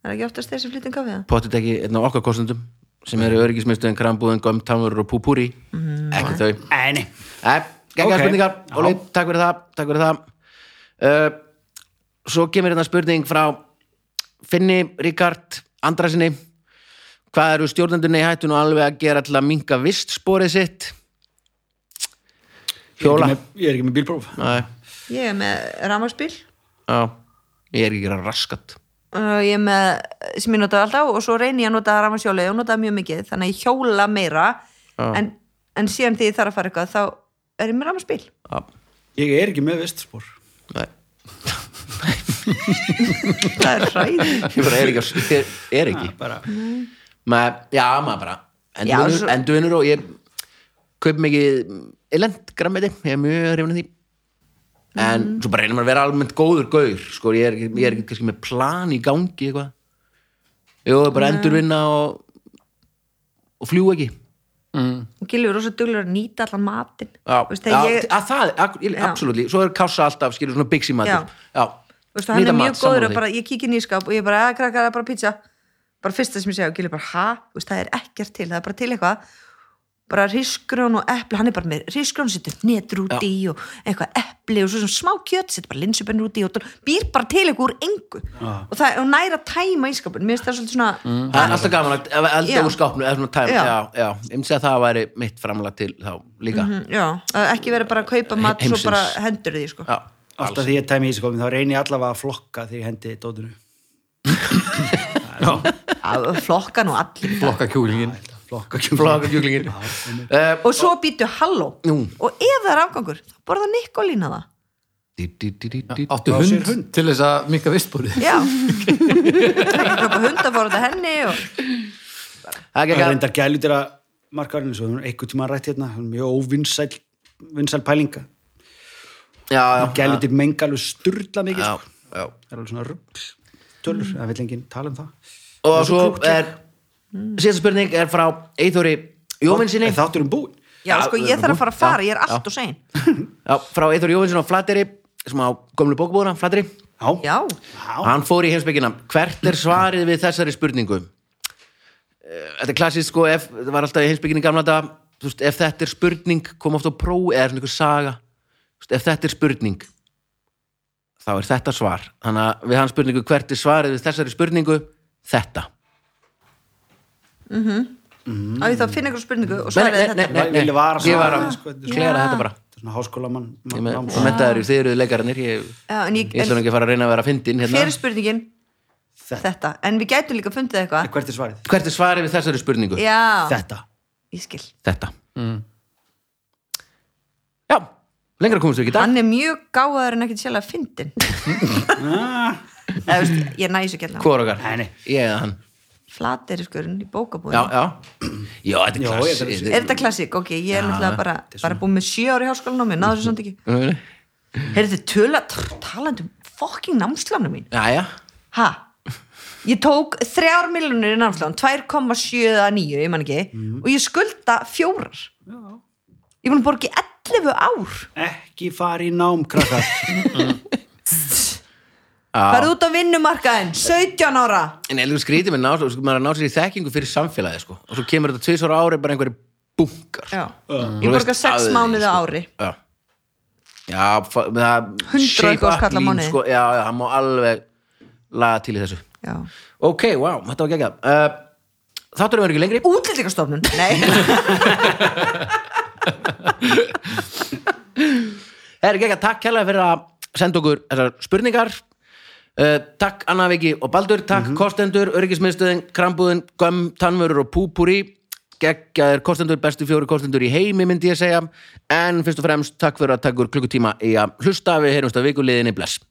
það er ekki oftast þeir sem flytja um kaffið pottit ekki einn af okkar kostendum sem eru öryggismistuðin, krambúðin, gömtamur og púpúri ekki þau Nei, nei. Nei, geggjað Ok. spurningar, Já. Óli, takk fyrir það takk fyrir það uh, svo kemur hérna spurning frá Finni, Ríkard, Andrasinni hvað eru stjórnendunni í hættu nú alveg að gera til að minka vistsporið sitt Ég er hjóla ekki með, ég er ekki með bílpróf. Nei, ég er með ramarsbíl já, ég er ekki að gera raskat uh, ég er með, sem ég notaði alltaf og svo reyni ég að nota ramarsjóli og notaði mjög mikið þannig að ég hjóla meira Já. en, en síðan því ég þarf að fara eitthvað þá er ég með ramarsbíl já, Ég er ekki með vistspor. nei það er hræðið ég bara er ekki, að- ég er ekki. Bara, Maður, já, maður bara Já, endurvinur, svo- endurvinur og ég kaup mikið elend grammeti, ég er mjög hrifin af því en Mm. svo bara reynir maður að vera almennt góður gaur, sko, ég er, ekki- ég er ekki kannski með plan í gangi eitthvað jú, bara endurvinna og og fljú ekki og Gilvi er rosa duglur að nýta allan matinn já, Þú veist, já þegar ég, að það, ak- ég- Já. absolutt svo er kása alltaf, skilur svona byggsí Já. matur já, þú veist, hann nýta er mat, mjög góður sammála því. að bara, ég kík inn í skáp og ég bara, að krakkar, það er bara pizza bara fyrsta sem ég segja og Gilvi bara, ha, Þú veist, það er ekkert til það er bara til eitthvað bara rísgrón og epli, hann er bara með rísgrón setur netur út í og eitthvað epli og svo sem smá kjöt, setur bara linsubinn út í og býr bara til eitthvað úr engu og það er næra tæma í skápun mér finnst það svolítið svona, það er alltaf gaman að að elda Já. úr skápnu eða svona tæm, Já. já, já, ég myndi segja að það væri mitt framlega til þá líka mhm, já, að ekki vera bara að kaupa mat svo Heimsins. bara hendur því, sko já, alltaf því ég tæmi í skoðum, þá reyni ég allavega að flokka því ég hendi dótinu. Að flokka nú allir blokka kjúlingin Flokka flokka kjúklingin uh, og svo býtu halló Nú. og ef það er afgangur þá borða Nikolína það dí, dí, dí, dí, dí. Áttu Já, sér hund, hund. til þess að mikka vistbúrið já það er hund að forða henni og það er Það er ekki reyndar gælutir að markaðurinn svo hún er einhvern tíma rætt hérna, hún er mjög óvinsæl vinsæl pælinga, já, já, gælutir menga alveg sturla mikið, já, Mm. sko. já. það er alveg svona rugl tölur, það vil enginn tala um það og svo er síðasta spurning er frá Eithóri Jóvinsinni er þáttur um búin já Já, sko við erum ég þarf búin. að fara að fara, Já, ég er allt og sein já, frá Eithóri Jóvinsinni á Flateri sem á gömlu bókubúðuna, Flateri já, já, já. hann fór í heimsbyggina hvert er svarið við þessari spurningu Eh, þetta er klassist sko ef, það var alltaf í heimsbyggina í gamla dag veist, ef þetta er spurning kom oft á próf eða svona einhver saga Þú veist, ef þetta er spurning þá er þetta svar þannig að við hann spurningu hvert er svarið við þessari spurningu þetta á ég þá að finna ykkur spurningu og Mm. Nei, svarið nei, er nei, þetta nei, nei. Villi var að ég var svara, að sko, þetta er klera þetta bara þetta er svona háskólamann Ég mann- með- náms- og mentaður, þið eruð leikararnir ég, já, en ég, ég ætla nú en ekki að fara að reyna að vera að fyndin hérna. fyrir spurningin þetta en við gætum líka fundið eitthvað hvert er svarið? hvert er svarið við þessari spurningu? já, Þetta ég skil þetta Mm. já, lengra komumst við ekki í dag hann er mjög gáðar en ekkert sjálf að fyndin ah, Eða, veist, ég næs ekki hérna hvor okkar, Nei, nei. ég eða hann flateriskurinn í bókabúðin já, já, já, þetta er Já, ég- klass er þetta klassik? ok, ég er náttúrulega bara, bara búin með sjö ári háskólanum minn, náður þessu samt ekki heyrðu þið töla, tr- talandi um fucking námslánu mín já, já, ha, ég tók þrjár miljonur í námslán, 2,79 ég man ekki, Mhm. og ég skulda fjórar ég mun að borga í 11 ár ekki fara í nám, krakkar farið út á vinnumarkaðin, 17 ára en elgur skrítið með nátt sko, maður er að ná sér í þekkingu fyrir samfélagi sko. og svo kemur þetta tvisvar á ári bara einhverju bunkar já, Þú Mm. ég veist, borga 6 aðeins, mánuði á sko. ári já, já fa- með það Hundra shape eitthvað up skall á lean, mánuði. sko, já, já, hann má alveg laga til í þessu já. ok, wow, þetta var geggjað uh, þáttur er ekki lengri útlýtingastofnun, nei Herri Gekka, takk hérlega fyrir að senda okkur þessar spurningar uh, Takk Anna Viki og Baldur Takk kostendur, öryggismiðstöðin, krambúðin göm, tannvörur og púpúri geggjaðir kostendur, bestu fjóri kostendur í heimi myndi ég segja, en fyrst og fremst takk fyrir að takkur klukkutíma í að hlusta, við heyrumst að vikuliðinni bless